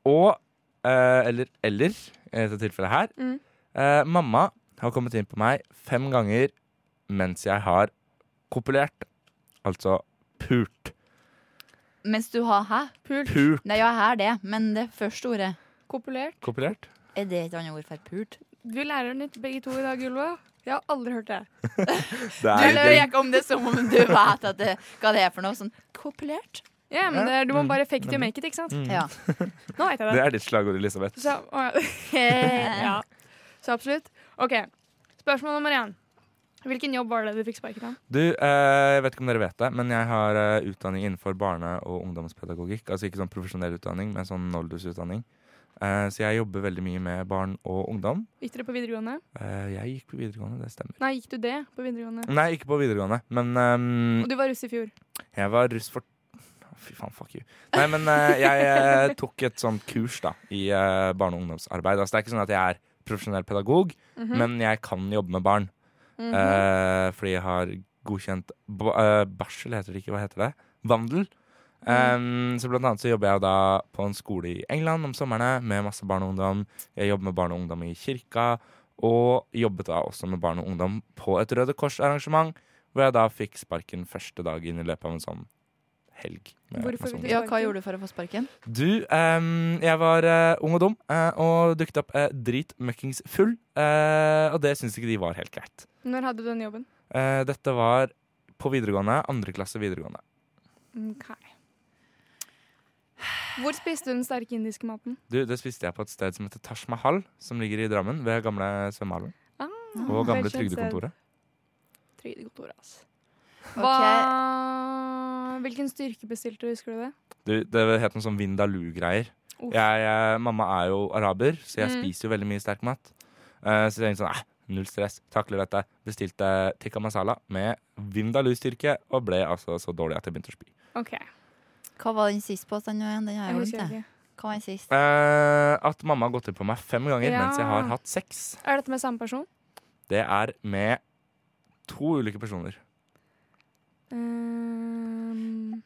S3: Og eh, eller, eller i dette tilfellet her
S5: Mm.
S3: eh, Mamma har kommet inn på meg fem ganger mens jeg har kopulert. Altså pult.
S4: Mens du har hæ?
S5: Pult.
S3: Pult.
S4: Nei, ja, jeg har det, men det første ordet
S5: Kopulert.
S3: Kopulert?
S4: Er det et annet ord for pult?
S5: Vi lærer nytt begge to i dag, Ylva. Jeg har aldri hørt det.
S3: Det
S4: Du
S3: er
S4: løy ikke om det som om du vet at det, hva det er for noe. Sånn kopulert.
S5: Ja, men det, er- Du må bare fake it and make it, ikke sant?
S3: *laughs*
S4: Ja.
S5: Nå vet jeg det.
S3: Mm. Det er ditt slagord, Elisabeth.
S5: Så, å, *laughs* ja. ja. så absolutt. OK. Spørsmål nummer én. Hvilken jobb var det du fikk sparken av?
S3: Du, eh, jeg vet ikke om dere vet det, men jeg har eh, utdanning innenfor barne- og ungdomspedagogikk. Altså ikke sånn profesjonell utdanning, men sånn oldusutdanning. Eh, så jeg jobber veldig mye med barn og ungdom.
S5: Gikk dere på videregående?
S3: Eh, jeg gikk på videregående, det stemmer.
S5: Nei, gikk du det på videregående?
S3: Nei, ikke på videregående, men ehm,
S5: Og du var russ i fjor.
S3: jeg var russ for Fy faen, fuck you. Nei, men eh, jeg eh, tok et sånt kurs da, i eh, barne- og ungdomsarbeid. Altså, det er ikke sånn at jeg er profesjonell pedagog,
S5: Mhm.
S3: men jeg kan jobbe med barn. eh, fordi jeg har godkjent ba eh, barsel, heter det ikke, hva heter det? Vandel.
S5: Mm.
S3: Ehm, så blant annet så jobber jeg da på en skole i England om sommerne med masse barn og ungdom. Jeg jobber med barn og ungdom i kirka, og jobbet da også med barn og ungdom på et Røde Kors-arrangement, hvor jeg da fikk sparken første dagen i løpet av en sånn helg. med
S5: Hvorfor
S3: masse
S5: fikk
S3: ungdom.
S5: du
S4: ja, hva gjorde du for å få sparken?
S3: Du, ehm, jeg var eh, ung og dum eh, og dukket opp eh, dritmøkkings full. eh, og det syns ikke de var helt greit.
S5: Når hadde du den jobben?
S3: Eh, dette var på videregående. Andre klasse videregående.
S5: Ok. Hvor spiste du den sterke indiske maten?
S3: Du, Det spiste jeg på et sted som heter Taj Mahal, som ligger i Drammen. Ved gamle svømmehallen.
S5: Ah,
S3: og gamle
S5: velkjent sted.
S3: Trygdekontoret.
S5: Trygdekontoret, altså.
S4: Ok.
S5: Hva Hvilken styrke bestilte du, husker du det?
S3: Du, Det het noe sånn Vindaloo-greier.
S5: Uff.
S3: Jeg, eh, mamma er jo araber, så jeg
S5: Mm.
S3: spiser jo veldig mye sterk mat. Eh, så jeg tenkte sånn eh, null stress, takler dette. Bestilte tikka masala med Vindaloo-styrke, og ble altså så dårlig at jeg begynte å spy.
S5: OK.
S4: Hva var den siste påstanden igjen? Den har
S5: Jeg
S4: jeg
S5: husker
S4: glemt. jeg.
S5: ikke.
S4: Hva var den siste?
S3: Eh, at mamma har gått inn på meg fem ganger
S5: Ja.
S3: mens jeg har hatt sex.
S5: Er dette med samme person?
S3: Det er med to ulike personer.
S5: Ehm,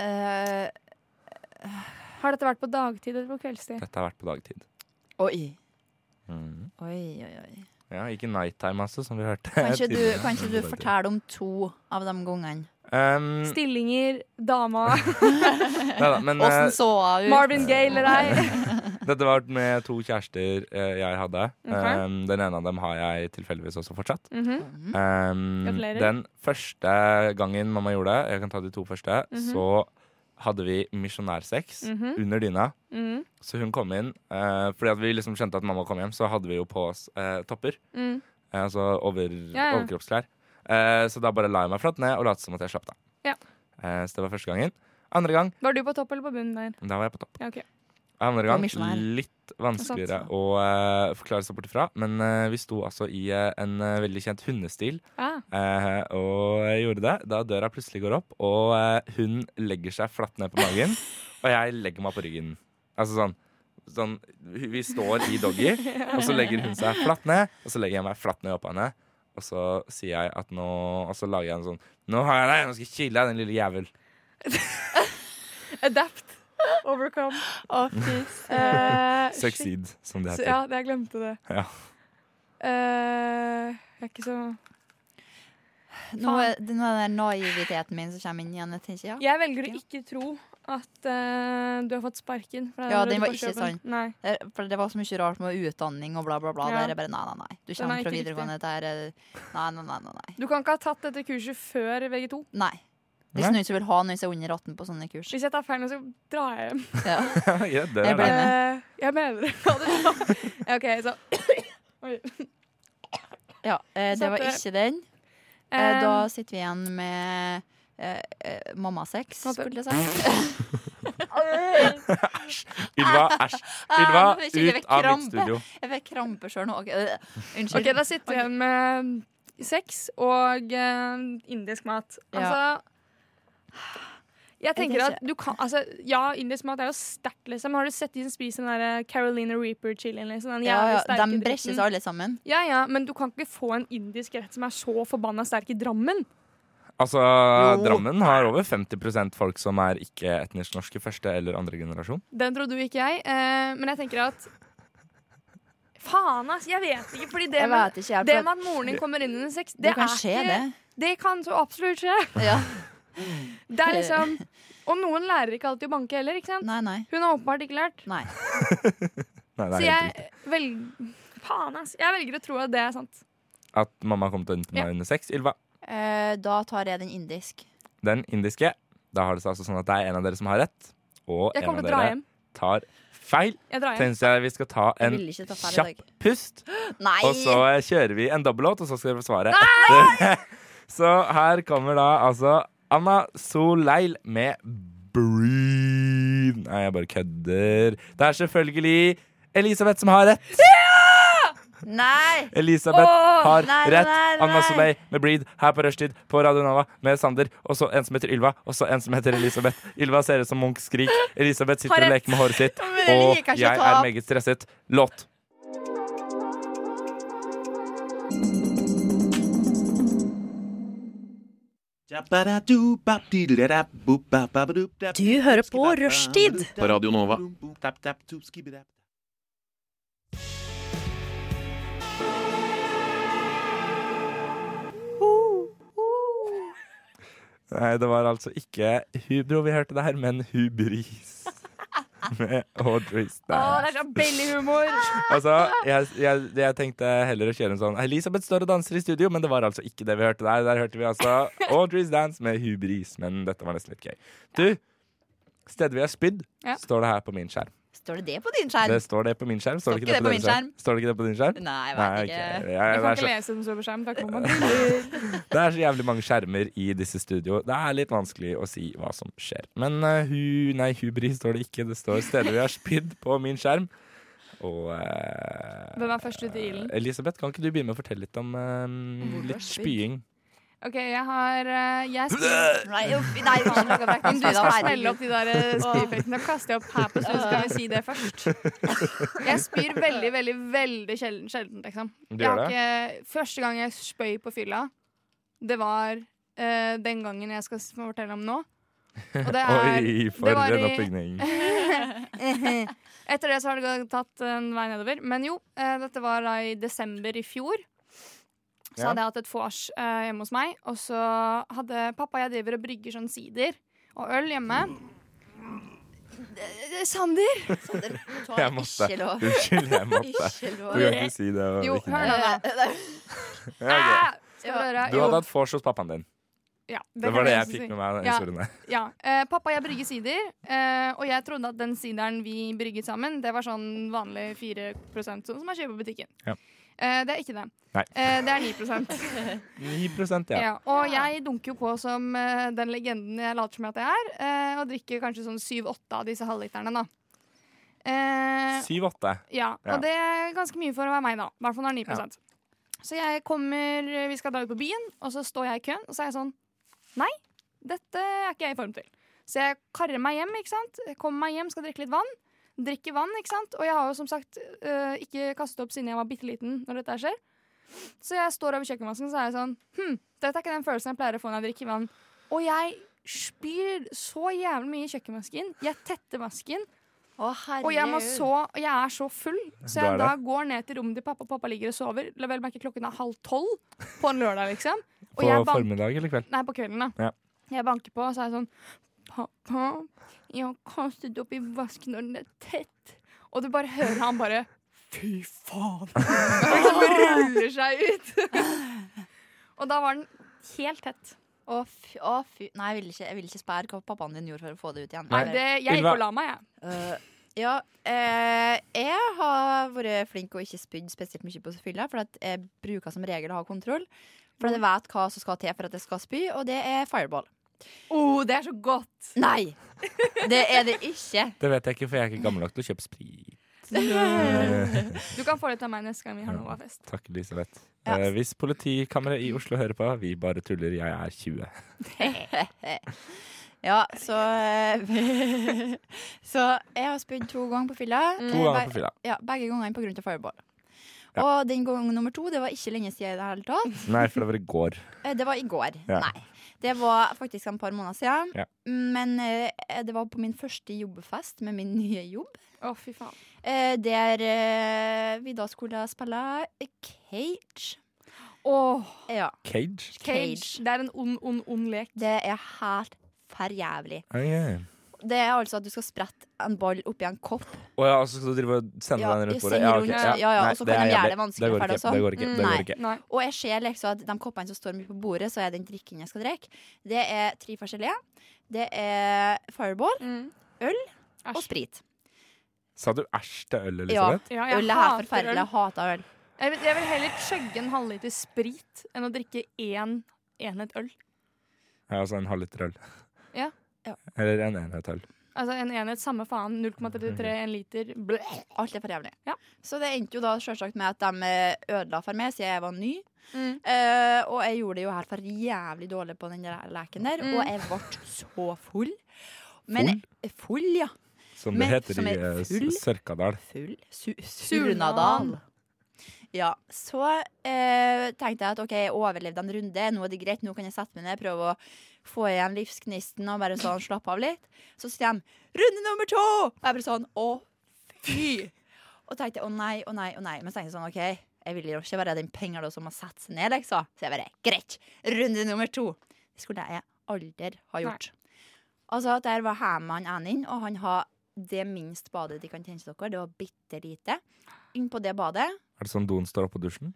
S4: Eh,
S5: har dette vært på dagtid eller på kveldstid?
S3: Dette har vært på dagtid.
S4: oi.
S3: Mhm.
S4: Oi, oi, oi.
S3: Ja, ikke nighttime, altså, som vi hørte.
S4: Kanskje du,
S3: tidligere.
S4: kanskje du forteller om to av de gangene? Mm.
S3: Um,
S5: Stillinger,
S4: *laughs*
S5: dama, *laughs*
S3: neida, men eh,
S4: Åssen så hun ut?
S5: Marvin Gaye eller
S4: *laughs*
S5: ei?
S3: dette var med to kjærester eh, jeg hadde.
S5: Ok.
S3: Um, den ene av dem har jeg tilfeldigvis også fortsatt.
S5: Mhm.
S4: Mm.
S3: Um,
S5: Gratulerer.
S3: den første gangen mamma gjorde det, jeg kan ta de to første,
S4: Mhm.
S3: så hadde vi misjonærsex
S4: Mm.
S5: Mhm.
S3: under dyna.
S5: Mhm.
S3: Så hun kom inn. eh, fordi at vi liksom skjønte at mamma kom hjem, så hadde vi jo på oss eh, topper.
S5: Mhm.
S3: Eh, Altså over,
S5: ja.
S3: overkroppsklær. Eh, så da bare la jeg meg flatt ned og lot som at jeg slapp av.
S5: Ja.
S3: Eh, så det var første gangen. Andre gang,
S5: Var du på topp eller på bunnen der?
S3: da var jeg på topp.
S5: Ja, ok.
S3: Andre
S4: Og
S3: gang,
S4: misjonær.
S3: litt vanskeligere å eh, forklare seg bort ifra. Men eh, vi sto altså i eh, en eh, veldig kjent hundestil
S5: Ah.
S3: eh, og jeg gjorde det. Da døra plutselig går opp, og eh, hun legger seg flatt ned på
S4: *laughs*
S3: magen. og jeg legger meg på ryggen. Altså sånn. Sånn, vi står i doggy, og så legger hun seg flatt ned. Og så legger jeg meg flatt ned oppå henne. Og så sier jeg at nå Og så lager jeg en sånn Nå har jeg deg, nå skal jeg kile deg, den lille jævel.
S5: Adapt. Overcome.
S4: Å, fy
S5: Eh, shit.
S3: Succeed, som det
S5: Så,
S3: *laughs* heter.
S5: ja, jeg glemte det.
S3: Ja.
S5: Eh, jeg er ikke så
S4: Nå er det nå er den naiviteten min som kommer inn igjen. Jeg tenker, ja.
S5: Jeg velger å ikke tro at eh, du har fått sparken. Fra
S4: Ja,
S5: Røde
S4: den var
S5: Kors-jobben.
S4: ikke sånn. sann.
S5: Nei.
S4: Det- Eh, For det var så mye rart med utdanning og bla, bla, bla.
S5: Ja.
S4: Det er bare nei, nei, nei.
S5: Den er
S4: Du kommer
S5: ikke
S4: fra
S5: riktig.
S4: videregående, det er eh, Nei, nei, nei. nei, nei.
S5: Du kan ikke ha tatt dette kurset før VG2.
S4: nei. Det
S3: Nei.
S4: er ikke noen som vil ha noen som er under 18 på sånne kurs.
S5: Hvis jeg tar feil nå, så drar jeg hjem.
S4: Ja.
S5: *laughs*
S3: ja, det
S4: Jeg
S3: er
S4: ble
S3: det.
S5: Eh, jeg mener det. *laughs* Ja, det var- Ja, OK, så
S4: Ja, eh, det
S5: Så
S4: var
S5: at, eh,
S4: ikke den. Eh, da sitter vi igjen med eh, eh, mammasex,
S5: Hva- *laughs*
S4: skulle jeg sagt.
S5: eh,
S3: Ylva, æsj. Ylva,
S4: Ah, nå fikk jeg
S3: ut av
S4: krampe.
S3: mitt studio.
S4: Jeg fikk krampe sjøl nå. Ok, øh, Unnskyld.
S5: Ok, da sitter vi igjen med sex og eh, indisk mat. Altså Jeg tenker at du kan altså, Ja, indisk mat er jo sterkt, liksom. Har du sett de som spiser den der eh, Carolina Reaper-chilien? Liksom, den
S4: ja,
S5: jævlig
S4: ja,
S5: sterke
S4: de
S5: dritten?
S4: bresjes alle sammen.
S5: Ja, ja, men du kan ikke få en indisk rett som er så forbanna sterk i Drammen.
S3: Altså,
S4: Jo.
S3: Drammen har over 50 folk som er ikke etnisk norske, første eller andre generasjon.
S5: Den trodde jo ikke jeg, eh, men jeg tenker at Faen, ass! Jeg vet ikke, fordi det
S4: Jeg
S5: med,
S4: vet ikke, jeg
S5: det med at moren din kommer inn under sex, det,
S4: det kan
S5: er
S4: skje,
S5: ikke
S4: det.
S5: Det kan så absolutt skje.
S4: Ja.
S5: Det er liksom
S4: *laughs*
S5: Og noen lærer ikke alltid å banke heller, ikke sant?
S4: Nei, nei.
S5: Hun har åpenbart ikke lært.
S4: Nei.
S3: Nei, det
S5: Så
S3: er helt riktig.
S5: jeg velger Faen, ass. Jeg velger å tro at det er sant.
S3: At mamma kom til å hente meg under sex. Ylva,
S4: Eh, da tar jeg den indisk.
S3: den indiske. Da har det seg altså sånn at det er en av dere som har rett, og
S5: Jeg
S3: en av
S5: kommer til å dra
S3: dere
S5: hjem.
S3: tar feil.
S5: Jeg drar hjem.
S3: Tenkte jeg vi skal ta
S4: Jeg
S3: en
S4: ville ikke ta feil i
S3: kjapp
S4: dag.
S3: pust,
S4: Nei!
S3: og så eh, kjører vi en dobbellåt, og så skal dere få svaret. *laughs* så her kommer da altså Anna Soleil med Breathe. Nei, jeg bare kødder. Det er selvfølgelig Elisabeth som har rett.
S4: Nei!
S3: Elisabeth
S4: Åh,
S3: har
S4: nei, nei,
S3: rett.
S4: nei, nei.
S3: Anna Soleil med Breed her på Rushtid på Radio Nova med Sander. Og så en som heter Ylva, og så en som heter Elisabeth. Ylva ser ut som Munch Skrik. Elisabeth
S5: Har
S3: sitter og
S5: rett.
S3: leker med håret sitt.
S4: *laughs* Men jeg
S3: Og
S4: liker ikke å
S3: jeg
S4: ta
S3: er
S4: opp.
S3: meget stresset. Låt.
S9: Du hører på Rushtid på Radio Nova.
S3: Nei, det var altså ikke Hubro vi hørte der, men Hubris. *laughs* Med Audrey
S5: Å, det
S3: Stein.
S5: er så bellyhumor.
S3: Altså, jeg, jeg, jeg tenkte heller å kjøre en sånn Elisabeth står og danser i studio, men det var altså ikke det vi hørte der. Der hørte vi altså Audrey's Dance med hubris, men dette var nesten litt gøy. Du, stedet vi har spydd,
S5: Ja.
S3: står det her på min skjerm.
S4: Står det det på din skjerm?
S3: Det står det på min skjerm. Står det
S4: Står
S3: ikke det på din skjerm? Står det ikke det på din skjerm?
S4: Nei, jeg vet
S3: ok.
S4: ikke.
S3: Ja,
S5: Jeg
S3: det,
S5: kan
S3: er
S5: ikke
S3: så,
S5: lese den store skjermen. for Da kommer man til
S3: det er så jævlig mange skjermer i disse studio. Det er litt vanskelig å si hva som skjer. Men eh, hu, nei, hubris står det ikke. Det står stedet vi har spydd på min skjerm. Og eh,
S5: Hvem er først ute i ilden?
S3: Elisabeth, kan ikke du begynne med å fortelle litt om eh, litt spying?
S5: OK, jeg har eh, Jeg skal
S4: Nei, uff, nei, faen, jeg kan
S5: Om du
S4: ikke
S5: skal
S4: snakke
S5: smelle
S4: *laughs*
S5: opp de der eh, spyfektene, kaster jeg opp her på stund, skal vi si det først. Jeg spyr veldig, veldig, veldig sjelden, sjelden liksom.
S3: Du
S5: Jeg
S3: gjør
S5: har
S3: det?
S5: ikke, første gang jeg spøy på fylla, det var eh, den gangen jeg skal s- fortelle om nå. Og det er
S3: Oi, for
S5: det var
S3: en
S5: i-
S3: oppbygning.
S5: Etter det så har det tatt en vei nedover. Men jo, eh, dette var da i desember i fjor. Så
S3: Ja.
S5: hadde jeg hatt et vors eh, hjemme hos meg, og så hadde pappa og jeg driver og brygger sånn sider og øl hjemme. Eh, Sander!
S3: *laughs* Jeg måtte.
S4: Ikke lov.
S3: Unnskyld, jeg måtte.
S4: Ikke
S3: Du
S4: lov.
S3: kan ikke si det. og
S5: Jo,
S3: ikke
S5: hør
S3: nei.
S5: nå, da.
S3: Ja, ok.
S5: Ah! Skal du høre?
S3: Du
S5: Jo.
S3: hadde hatt vors hos pappaen din.
S5: Ja, det
S3: Det
S5: kan
S3: var det
S5: jeg
S3: jeg
S5: også
S3: fikk
S5: si.
S3: med meg. av den
S5: Ja.
S3: historien der.
S5: Ja. Eh, pappa og jeg brygger sider, eh, og jeg trodde at den sideren vi brygget sammen, det var sånn vanlig 4 sånn som man kjøper på butikken.
S3: Ja.
S5: Eh, det er ikke det.
S3: Nei.
S5: Eh, det er 9
S3: 9 ja.
S5: ja. Og jeg dunker jo på som eh, den legenden jeg later som at jeg er, eh, og drikker kanskje sånn 7-8 av disse halvliterne, da. Eh,
S3: 7-8.
S5: ja,
S3: Ja.
S5: og det er ganske mye for å være meg, da. I hvert fall når det er 9 Så jeg kommer, vi skal dra ut på byen, og så står jeg i køen, og så er jeg sånn Nei, dette er ikke jeg i form til. Så jeg karrer meg hjem, ikke sant. Jeg kommer meg hjem, skal drikke litt vann. Drikker vann, ikke sant. Og jeg har jo som sagt øh, ikke kastet opp siden jeg var bitte liten når dette her skjer. Så jeg står over kjøkkenvasken, så er jeg sånn Hm, dette er ikke den følelsen jeg pleier å få når jeg drikker vann. Og jeg spyr så jævlig mye i kjøkkenvasken. Jeg tetter vasken.
S4: Å,
S5: Og jeg, må
S4: herregud.
S5: så, og jeg er så full, så
S3: Du er
S5: jeg da
S3: det.
S5: går ned til rommet til pappa, og pappa ligger og sover. La vel merke klokken er halv tolv på en lørdag, liksom. Og
S3: På
S5: jeg banker,
S3: formiddag eller kveld?
S5: nei, på kvelden, da.
S3: Ja.
S5: Jeg banker på, og så er jeg sånn Pappa, jeg har kastet opp i vasken, og den er tett. Og du bare hører han bare Fy faen! *laughs* Og liksom ruller seg ut. *laughs* og da var den helt tett.
S4: Å, fy, å, fy. Nei, jeg vil ikke, jeg vil ikke spære hva pappaen din gjorde for å få det ut igjen.
S5: Nei,
S3: Nei.
S5: det, jeg gikk
S3: Ylva.
S5: og la meg, jeg.
S4: Øh, ja, eh, jeg har vært flink og ikke spydd spesielt mye på fylla, for at jeg bruker som regel å ha kontroll. For at jeg vet hva som skal til for at jeg skal spy, og det er fireball.
S5: Oh, det er så godt.
S4: Nei, det er det ikke.
S3: Det vet jeg ikke, for jeg er ikke gammel nok til å kjøpe sprit.
S5: Du kan få litt av meg neste gang vi har Novafest.
S3: Takk, Elisabeth. Eh, hvis politikammeret i Oslo hører på, vi bare tuller, jeg er 20.
S4: Ja, så eh, *laughs* Så jeg har spydd to ganger på fylla.
S3: To ganger på fylla.
S4: Ja, begge gangene på grunn til fireball. Og den gangen nummer to, det var ikke lenge siden i det hele tatt.
S3: Nei, for det var i går.
S4: Eh, Det var i går.
S3: Ja.
S4: Nei. Det var faktisk en par måneder siden.
S3: Ja.
S4: Men eh, det var på min første jobbfest med min nye jobb.
S5: Å, fy faen.
S4: eh, Der eh, vi da skulle spille cage.
S5: Åh,
S4: Ja.
S3: Cage?
S5: cage. Det er en ond, ond, ond lek.
S4: Det er helt for jævlig.
S3: Å ja.
S4: Det er altså at du skal sprette en ball oppi en kopp.
S3: Å ja, altså skal du drive og sende
S4: Ja,
S3: den rundt
S4: sende
S3: bordet?
S4: rundt, ja, ja,
S3: Nei,
S4: og så
S3: er
S4: kan de gjøre
S3: jævlig.
S4: det vanskeligere
S3: går
S4: for deg
S3: ikke,
S4: også.
S3: Det går ikke. Det
S4: Mm,
S3: går
S4: nei.
S3: ikke.
S5: Nei.
S4: Og jeg ser liksom at de koppene som står mye på bordet, så er den drikken jeg skal drikke, det er tre forskjellige. Det er Fireball
S5: Mm.
S4: Øl og
S5: Æsj.
S4: sprit.
S3: Sa du æsj til øl, Elisabeth?
S5: Ja, jeg
S4: Øl er
S5: hater
S4: forferdelig. Jeg
S5: øl.
S4: hater øl.
S5: Jeg vil, jeg vil heller chugge en halvliter sprit enn å drikke én enhet øl.
S3: Ja. Altså en halvliter øl.
S5: Ja.
S4: Ja.
S3: Eller en enhet øl.
S5: Altså en enhet, samme faen. 0,33, en liter. Bleh.
S4: Alt er for jævlig.
S5: Ja.
S4: Så det endte jo da selvsagt med at de eh, ødela for meg, siden jeg var ny.
S5: Mm.
S4: Eh, og jeg gjorde det jo her for jævlig dårlig på den der leken der,
S5: Mm.
S4: og jeg ble så full. Men full, ja.
S3: Som det
S4: Men
S3: heter
S4: som
S3: i
S4: er
S3: eh, S-
S4: full?
S3: Sørkadal.
S4: full su Surnadal. Ja, så eh, tenkte jeg at OK, jeg overlevde en runde, nå er det greit, nå kan jeg sette meg ned, prøve å få igjen livsgnisten og bare sånn slappe av litt. Så sier de 'runde nummer to'! Og jeg bare sånn å, fy! Og tenkte å nei, å nei, å nei. Men så tenkte jeg sånn OK, jeg vil jo ikke være den penga som har satt seg ned, liksom. Så jeg bare greit, runde nummer to. Det skulle jeg aldri ha gjort. Altså, der var Herman Enin, og han har det minst badet de kan tenke dere. Det var bitte lite. Inn på det badet.
S3: Er det sånn doen står oppå dusjen?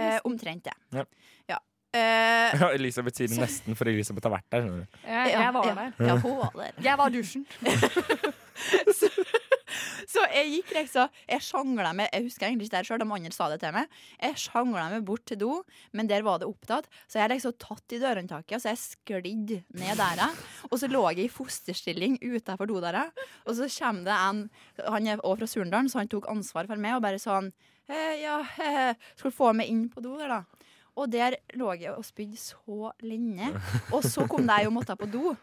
S4: Eh, omtrent det.
S3: Ja.
S4: Ja. Eh,
S3: *laughs* Ja, Elisabeth sier nesten, for Elisabeth har vært der. skjønner du.
S5: Jeg, jeg var der.
S4: Ja, ja, hun var der.
S5: Jeg var dusjen.
S4: *laughs* Så jeg gikk liksom Jeg sjangla meg Jeg husker egentlig ikke det sjøl, de andre sa det til meg. Jeg sjangla meg bort til do, men der var det opptatt. Så jeg liksom tatt i dørhåndtaket, og så jeg sklidd ned der. Og så lå jeg i fosterstilling utafor dodøra, og så kommer det en Han er også fra Surndalen, så han tok ansvar for meg og bare sånn eh, Ja, eh, skal du få meg inn på do der, da? Og der lå jeg og spydde så lenge. Og så kom det jeg og måtte på do.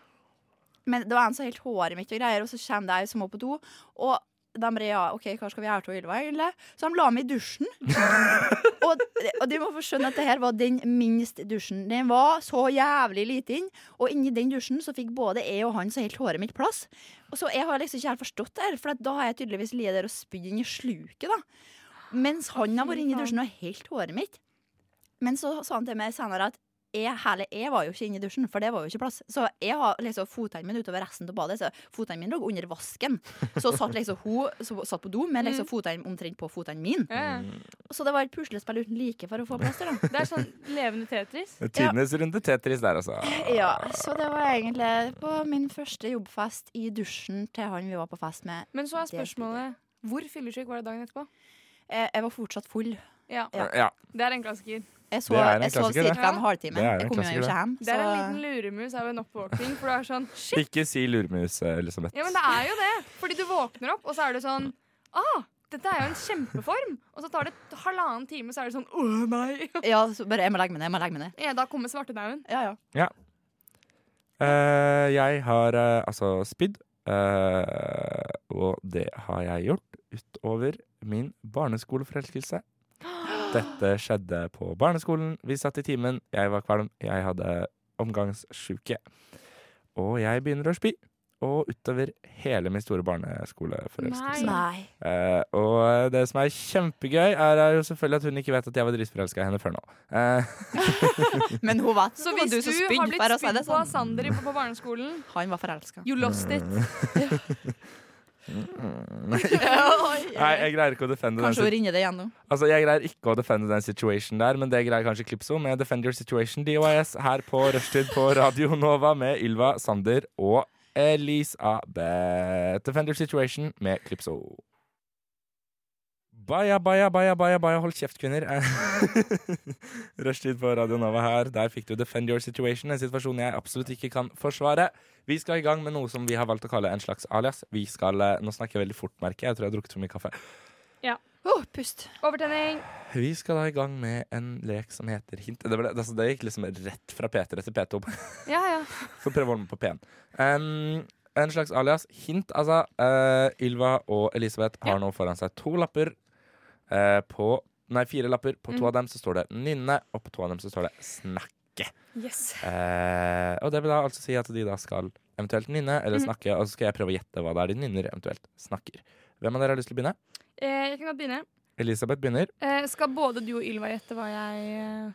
S4: Men det var en som helt håret mitt og greier, og så kommer det ei som må på do. Og de bare ja, OK, hva skal vi gjøre til Ylva, egentlig? Så de la meg i dusjen. og, og de må få skjønne at det her var den minst dusjen. Den var så jævlig lite inn. Og inni den dusjen så fikk både jeg og han så helt håret mitt plass. Og så jeg har liksom ikke helt forstått det her, for at da har jeg tydeligvis ligget der og spydd inn i sluket, da. Mens han har vært inni dusjen og helt håret mitt. Men så sa han til meg senere at jeg, hele, jeg var jo ikke inne i dusjen, for det var jo ikke plass. Så jeg har liksom fotene mine utover resten av badet. Så fotene mine lå under vasken. Så satt liksom hun som satt på do med liksom fotene omtrent på fotene mine.
S5: Ja.
S4: Så det var et puslespill uten like for å få plass til det.
S5: Det er sånn levende Tetris.
S3: Det er Tidenes runde Tetris der, altså.
S4: *laughs* Ja, så det var egentlig på min første jobbfest i dusjen til han vi var på fest med.
S5: Men så er spørsmålet hvor fyllesyk var det dagen etterpå?
S4: Jeg, jeg var fortsatt full.
S5: Ja,
S3: Ja.
S5: Det er en klassiker.
S4: Jeg
S3: Det
S4: sov,
S3: er en
S4: jeg sov
S3: klassiker, det.
S4: cirka en halvtime.
S3: Det er en
S4: Jeg kom jo
S3: klassiker, det.
S4: ikke hjem.
S5: Det er en liten
S4: Så,
S5: luremus av en oppvåkning. For du er sånn Shit!
S3: Ikke si lurmus, eh, Elisabeth.
S5: Ja, men det er jo det. Fordi du våkner opp, og så er du sånn Ah, dette er jo en kjempeform! Og så tar det et halvannen time, så er du sånn Åh, nei!
S4: ja, så bare jeg må legge meg ned, jeg må legge meg ned.
S5: Ja, da kommer svartedauden.
S4: Ja, ja.
S3: Eh, jeg har eh, altså spydd, eh, og det har jeg gjort utover min barneskoleforelskelse. Dette skjedde på barneskolen. Vi satt i timen, jeg var kvalm, jeg hadde omgangssjuke. Og jeg begynner å spy. Og utover hele min store barneskoleforelskelse.
S4: Nei.
S3: Eh, og det som er kjempegøy, er jo selvfølgelig at hun ikke vet at jeg var dritforelska i henne før nå. Eh,
S4: Men hun vet
S5: Så
S4: at
S5: hvis du,
S4: det var du som spydde
S5: har blitt
S4: for å si
S5: spydd
S4: det
S5: på
S4: sånn.
S5: av Sander på, på barneskolen,
S4: Han var forelska.
S5: you lost it.
S3: Eh. *laughs* nei, Mm. jeg greier ikke å defende den
S4: Kanskje hun ringer det igjen nå.
S3: Altså, Jeg greier ikke å defende den situation der, men det greier kanskje Klipso med Defend Your Situation DYS her på Rushtid på Radio Nova med Ylva, Sander og Elisabeth. Defend Your Situation med Klipso. Baya, baya, baya, baya, baya, hold kjeft, kvinner. *laughs* Rushtid på Radio Nova her. Der fikk du Defend Your Situation, en situasjon jeg absolutt ikke kan forsvare. Vi skal i gang med noe som vi har valgt å kalle en slags alias. Vi skal, eh, Nå snakker jeg veldig fort, merker jeg. Jeg tror jeg har drukket for mye kaffe.
S4: Oh, pust.
S5: Overtenning.
S3: Vi skal da i gang med en lek som heter Hint. Det, ble, altså, det gikk liksom rett fra P3 til P2.
S5: Ja, ja.
S3: *laughs* Så prøv å holde meg på P1. Um, en slags alias. Hint, altså. Eh, Ylva og Elisabeth har nå foran seg to lapper eh, på Nei, fire lapper. På to av dem så står det 'nynne', og på to av dem så står det 'snakke'.
S5: Yes.
S3: Eh, og det vil da altså si at de da skal eventuelt nynne eller snakke, og så skal jeg prøve å gjette hva det er de nynner, eventuelt snakker. Hvem av dere har lyst til å begynne?
S5: Eh, jeg kan godt begynne.
S3: Elisabeth begynner.
S5: Eh, skal både du og Ylva gjette hva jeg eh,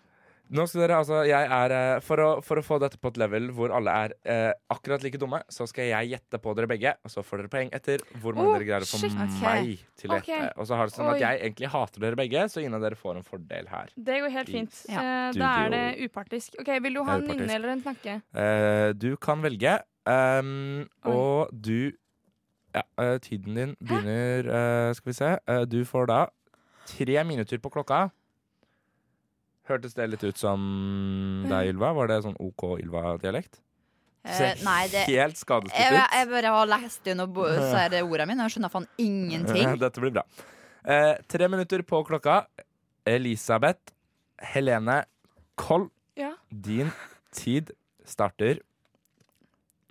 S3: Nå skal dere, altså, jeg er, eh, for, å, for å få dette på et level hvor alle er eh, akkurat like dumme, så skal jeg gjette på dere begge, og så får dere poeng etter hvor mange
S5: Oh,
S3: dere greier å få
S5: shit.
S3: meg til å
S5: Ok.
S3: gjette. Og så har det sånn
S5: Oi.
S3: at jeg egentlig hater dere begge, så ingen av dere får en fordel her.
S5: Det går helt fint.
S4: Ja.
S5: Eh, da er det upartisk. Ok, Vil du ha en
S3: Det er upartisk.
S5: nynne eller en snakke?
S3: Eh, du kan velge, ehm, og du ja, eh, Tiden din begynner eh, Skal vi se. eh, du får da tre minutter på klokka. Hørtes det litt ut som deg, Ylva? Var det sånn OK Ylva-dialekt?
S4: Eh, nei, det jeg,
S3: helt skadespilt ut.
S4: jeg bare har lest gjennom bo- så er det ordene mine, og jeg skjønner faen ingenting.
S3: *laughs*
S4: *laughs*
S3: Dette blir bra. Eh, tre minutter på klokka. Elisabeth Helene Koll,
S5: Ja.
S3: din tid starter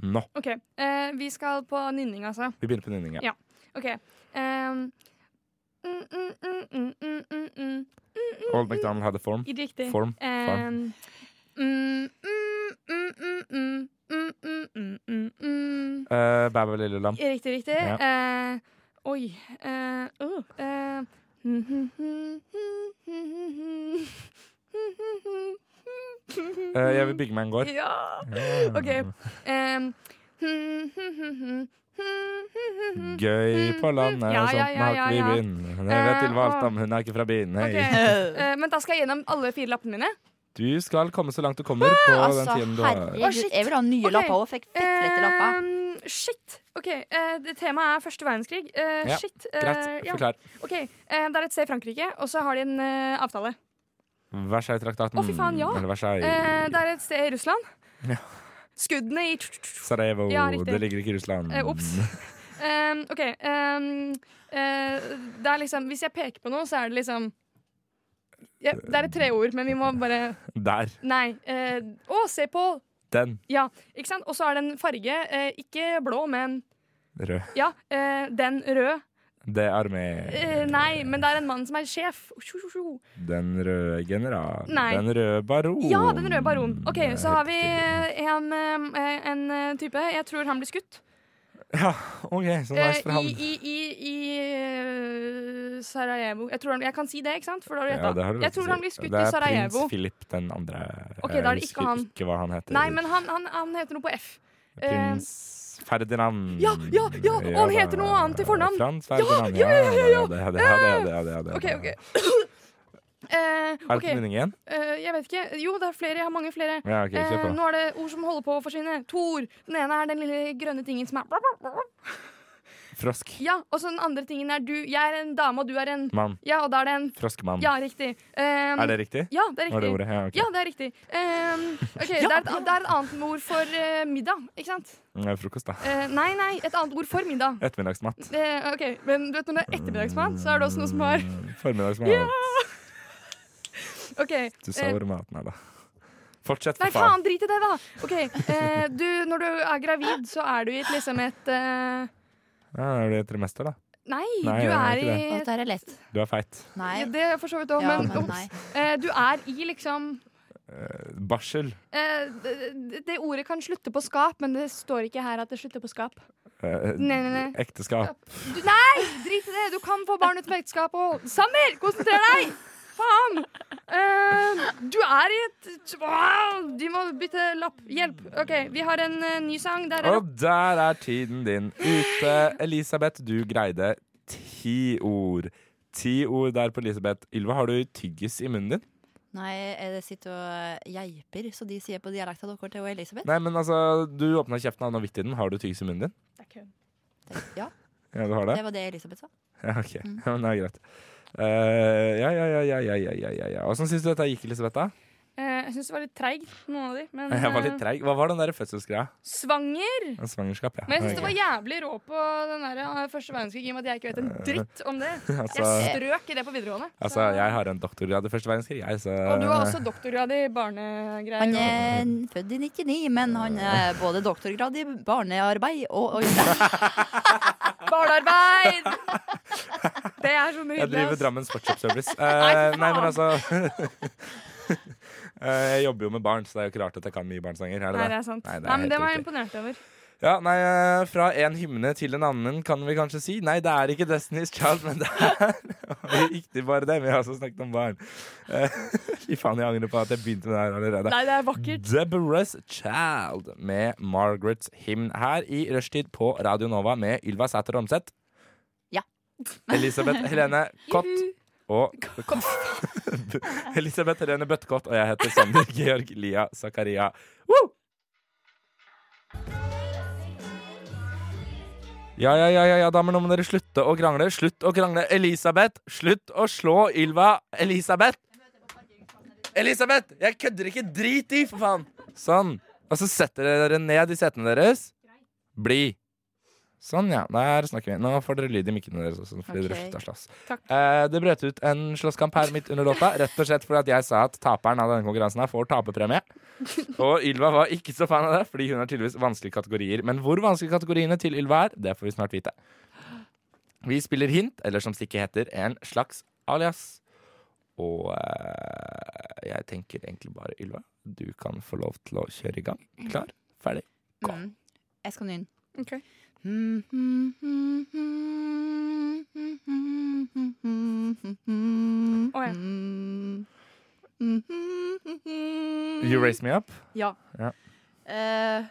S3: nå.
S5: Ok, eh, Vi skal på nynning, altså.
S3: Vi begynner på nynninga.
S5: Ja. Ok. ehm, mm, mm, mm, mm, mm, mm, mm.
S3: Old MacDonald hadde form.
S5: Riktig.
S3: Form. Form.
S5: Ehm, mm, mm, mm, mm, mm, mm, mm, mm, mm, mm.
S3: Eh, Bæ, bæ, lille lam.
S5: Riktig, riktig.
S3: Ja.
S5: Eh, oi. Eh, uh, eh. hm,
S3: Eh, jeg vil bygge meg en gård.
S5: hm, Ja! OK. ehm, hm, Em, hm,
S3: Gøy på landet,
S5: Ja,
S3: og sånt
S5: ja, ja, ja,
S3: har ikke
S5: ja.
S3: vi i byen. Hun er rett til
S5: Eh,
S3: Valtam, hun er ikke fra byen. Hei.
S5: Ok. Eh, men da skal jeg gjennom alle fire lappene mine.
S3: Du skal komme så langt du kommer
S5: Ah,
S3: på den
S4: Altså,
S3: tiden du har.
S4: herregud, jeg vil ha nye
S5: Ok. Eh,
S4: lapper òg. Fikk fettlette lapper.
S5: Em, Ehm, shit. OK. eh, det temaet er første verdenskrig. Eh,
S3: Ja,
S5: Shit. eh,
S3: Greit,
S5: ja.
S3: forklar.
S5: OK. eh, det er et sted i Frankrike, og så har de en eh, avtale.
S3: Versailles-traktaten.
S5: Å, fy faen, ja.
S3: Eller
S5: Eh,
S3: Versailles.
S5: det er et sted i Russland. Skuddene i
S3: Sarajevo,
S5: Ja, riktig.
S3: det ligger ikke i Russland.
S5: Eh, Ops. Em, Ehm, OK. em, eh, det er liksom Hvis jeg peker på noe, så er det liksom ja, Det er et treord, men vi må bare
S3: *laughs* Der.
S5: Nei. eh, Å, se på!
S3: Den.
S5: Ja, ikke sant? Og så er det en farge. eh, ikke blå, men
S3: Rød.
S5: ja, eh, den rød.
S3: Det er med
S5: Eh, nei, men det er en mann som er sjef. Tjo, tjo, tjo.
S3: den røde general.
S5: Nei.
S3: Den røde baron.
S5: Ja, den røde baron. OK, så har vi
S3: Riktig.
S5: eh, en, eh, en eh, type. Jeg tror han blir skutt.
S3: Ja, OK, så nice for
S5: Eh,
S3: han.
S5: I, i, i, i eh, Sarajevo. Jeg, tror han, jeg kan si det, ikke sant? For da har du
S3: Ja,
S5: gjetta.
S3: det har du rett
S5: jeg tror
S3: til.
S5: han blir skutt
S3: Det
S5: i
S3: er
S5: Sarajevo.
S3: Prins Philip den andre.
S5: Ok,
S3: Jeg
S5: da er det
S3: husker
S5: ikke han.
S3: Ikke hva han heter.
S5: Nei, men han, han, han heter noe på F. eh,
S3: Prins Ferdinand.
S5: ja, ja, ja, og han
S3: da.
S5: heter noe annet til fornavn.
S3: Frans Ferdinand. Ja, ja, ja, ja, Det er det, ja, det, er det, ja, det, er det.
S5: OK, OK. Eh,
S3: Er det
S5: ok,
S3: på nynning igjen?
S5: eh, jeg vet ikke. Jo, det er flere. Jeg har mange flere.
S3: Ja, ok, kjør
S5: Eh,
S3: på.
S5: nå er det ord som holder på å forsvinne. Tor. Den ene er den lille grønne tingen som er
S3: Frosk.
S5: Ja, og så den andre tingen er du. Jeg er en dame, og du er en
S3: Mann.
S5: Ja, og da er det en
S3: Froskemann.
S5: Ja, riktig. Um,
S3: Er det riktig?
S5: Ja, det er
S3: Var det
S5: riktig.
S3: ordet? Ja, ok.
S5: Ja, det er riktig. Um,
S3: *laughs*
S5: ok, det, er et, det er et annet ord for eh, middag, ikke sant?
S3: Det er Mm, Frokost, da.
S5: Eh, nei, nei, et annet ord for middag.
S3: Ettermiddagsmat.
S5: Eh, ok, Men du vet når det er ettermiddagsmat, så er det også noe som har
S3: Mm, Formiddagsmat.
S5: OK.
S3: Du sa
S5: eh,
S3: hvor maten er, da. Fortsett,
S5: Nei,
S3: for faen.
S5: faen, drit i det, da! Ok, eh, du, Når du er gravid, så er du i et liksom et eh,
S3: Ja, er du i trimester, da?
S5: Nei,
S3: Nei,
S5: du
S3: det er
S5: er
S3: ikke
S5: i
S4: Å, dette her er lett.
S3: Du er feit.
S4: Nei.
S5: ja, Det for så vidt òg,
S4: Ja,
S5: men,
S4: men
S5: ups.
S4: nei.
S5: Eh, du er i liksom
S3: Barsel.
S5: eh, det, det ordet kan slutte på skap, men det står ikke her at det slutter på skap.
S3: Eh,
S5: Nei, nei, nei.
S3: Ekteskap.
S5: Du, nei, drit i det. Du kan få barn uten ekteskap og Samir, konsentrer deg! Faen! Eh, du er i et wow, De må bytte lapp. Hjelp. OK, vi har en eh, ny sang. Der er
S3: Og der er tiden din ute. Elisabeth, du greide ti ord. Ti ord der på Elisabeth. Ylva, har du tyggis i munnen din?
S4: Nei, jeg sitter og geiper, så de sier på dialekta dere til Elisabeth.
S3: Nei, men altså, du åpna kjeften av noe vitt i den. Har du tyggis i munnen din?
S4: Ja,
S3: Ja, du har det?
S4: det var det Elisabeth sa.
S5: Mm.
S3: Ja, ok. Ja, men det er greit. Eh, ja, ja, ja, ja, ja, ja, ja, ja, ja. Hvordan syns du dette gikk, Elisabeth? da?
S5: Eh, jeg syns det var litt treig, noen av de. Men
S3: *laughs* Jeg var litt
S5: eh,
S3: treig. Hva var den der fødselsgreia?
S5: svanger.
S3: En svangerskap, ja.
S5: Men jeg syns det var jævlig rå på den der, eh, første verdenskrig i og med at jeg ikke vet en dritt om det. Jeg
S3: Eh, *laughs* Altså-
S5: strøk i det på videregående.
S3: Altså, jeg eh, har en doktorgrad i første verdenskrig, jeg, så
S5: Og du har også doktorgrad i barnegreier.
S4: Han er født i 99, men han er både doktorgrad i barnearbeid og, og
S3: *laughs*
S5: Barnearbeid! Det er så
S3: Jeg
S5: nydelig.
S3: driver
S5: ass.
S3: Drammen Sportshop
S5: *laughs*
S3: Service. Eh, nei, men altså *laughs* Eh, Jeg jobber jo med barn, så det er jo ikke rart at jeg kan mye barnesanger. Er det
S5: Nei,
S3: det?
S5: det er sant.
S3: Nei, det
S5: Nei,
S3: er
S5: men
S3: helt
S5: det var jeg
S3: riktig.
S5: imponert over.
S3: Ja, nei, eh, Fra en hymne til en annen, kan vi kanskje si. Nei, det er ikke Destiny's Child, men det er *laughs* riktig bare det. Vi har også snakket om barn. Eh, *laughs* Fy faen, jeg angrer på at jeg begynte med det her allerede.
S5: Nei, det er vakkert.
S3: Deborah's Child med Margaret's Hymn her i rushtid på Radio Nova med Ylva Sæter Omseth.
S4: Ja.
S3: *laughs* Elisabeth Helene Kott og *laughs* Elisabeth Helene Bøttekott, og jeg heter Sander *laughs* Georg Lia Zakaria. Woo! Ja, ja, ja, ja, ja, damer, nå må dere slutte å krangle. Slutt å krangle. Elisabeth, slutt å slå Ylva. Elisabeth! Elisabeth, jeg kødder ikke. Drit i, for faen. Sånn. Og så setter dere ned i setene deres. Bli. Sånn, ja. Der snakker vi. Nå får dere lyd i mikkene deres også. Fordi dere
S4: Ok.
S3: slutta å slåss.
S5: Takk.
S3: Eh, det brøt ut en slåsskamp her midt under låta, rett og slett fordi at jeg sa at taperen av denne konkurransen her får taperpremie. Og Ylva var ikke så fan av det, fordi hun har tydeligvis vanskelige kategorier. Men hvor vanskelige kategoriene til Ylva er, det får vi snart vite. Vi spiller hint, eller som Stikke heter, en slags alias. Og eh, jeg tenker egentlig bare, Ylva, du kan få lov til å kjøre i gang.
S5: Mm.
S3: Klar, ferdig. Gå.
S4: mm. Jeg skal nynne.
S5: Ok. Å, ja. Mm.
S3: You raise me up.
S4: Ja.
S3: Ja.
S4: Eh,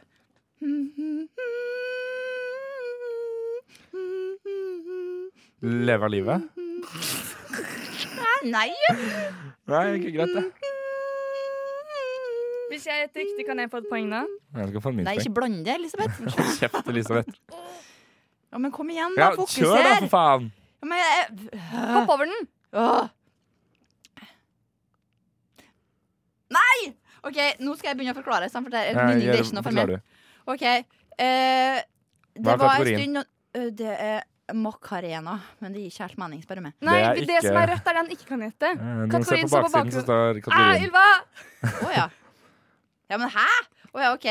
S3: Leve av livet.
S4: Nei!
S3: Nei, ikke greit det.
S5: Hvis jeg gjetter riktig, kan jeg få et poeng da?
S3: Jeg skal få en
S4: Nei, ikke
S3: minspeng.
S4: bland det, Elisabeth.
S3: *laughs* Kjeft, Elisabeth.
S5: *laughs*
S4: Ja, men kom igjen, da.
S3: Ja, kjør da,
S4: Fokuser.
S3: for faen!
S5: Eh,
S4: Ja, men eh, jeg
S5: Hopp over den!
S4: Åh. Nei! OK, nå skal jeg begynne å forklare. sant, for det er
S3: Ja,
S4: nynning,
S3: Eh,
S4: det
S3: gjør-
S4: er ikke noe for meg.
S3: forklarer du.
S4: OK. eh,
S3: Hva
S4: det
S3: er
S4: var en
S3: kategorien?
S4: stund øh, Det er Macarena, men det gir ikke helt mening, spør du meg.
S5: Nei,
S3: er
S5: det,
S3: ikke-
S5: som er rødt, er det han ikke kan gjette.
S3: Eh, Du må se på
S5: Kategorien står på
S3: baksiden, så
S5: bakgrunnen.
S3: står
S5: Ah,
S3: kategorien.
S5: Ylva!
S4: Å
S3: *laughs*
S4: ja. Ja, men hæ?! Å ja, OK.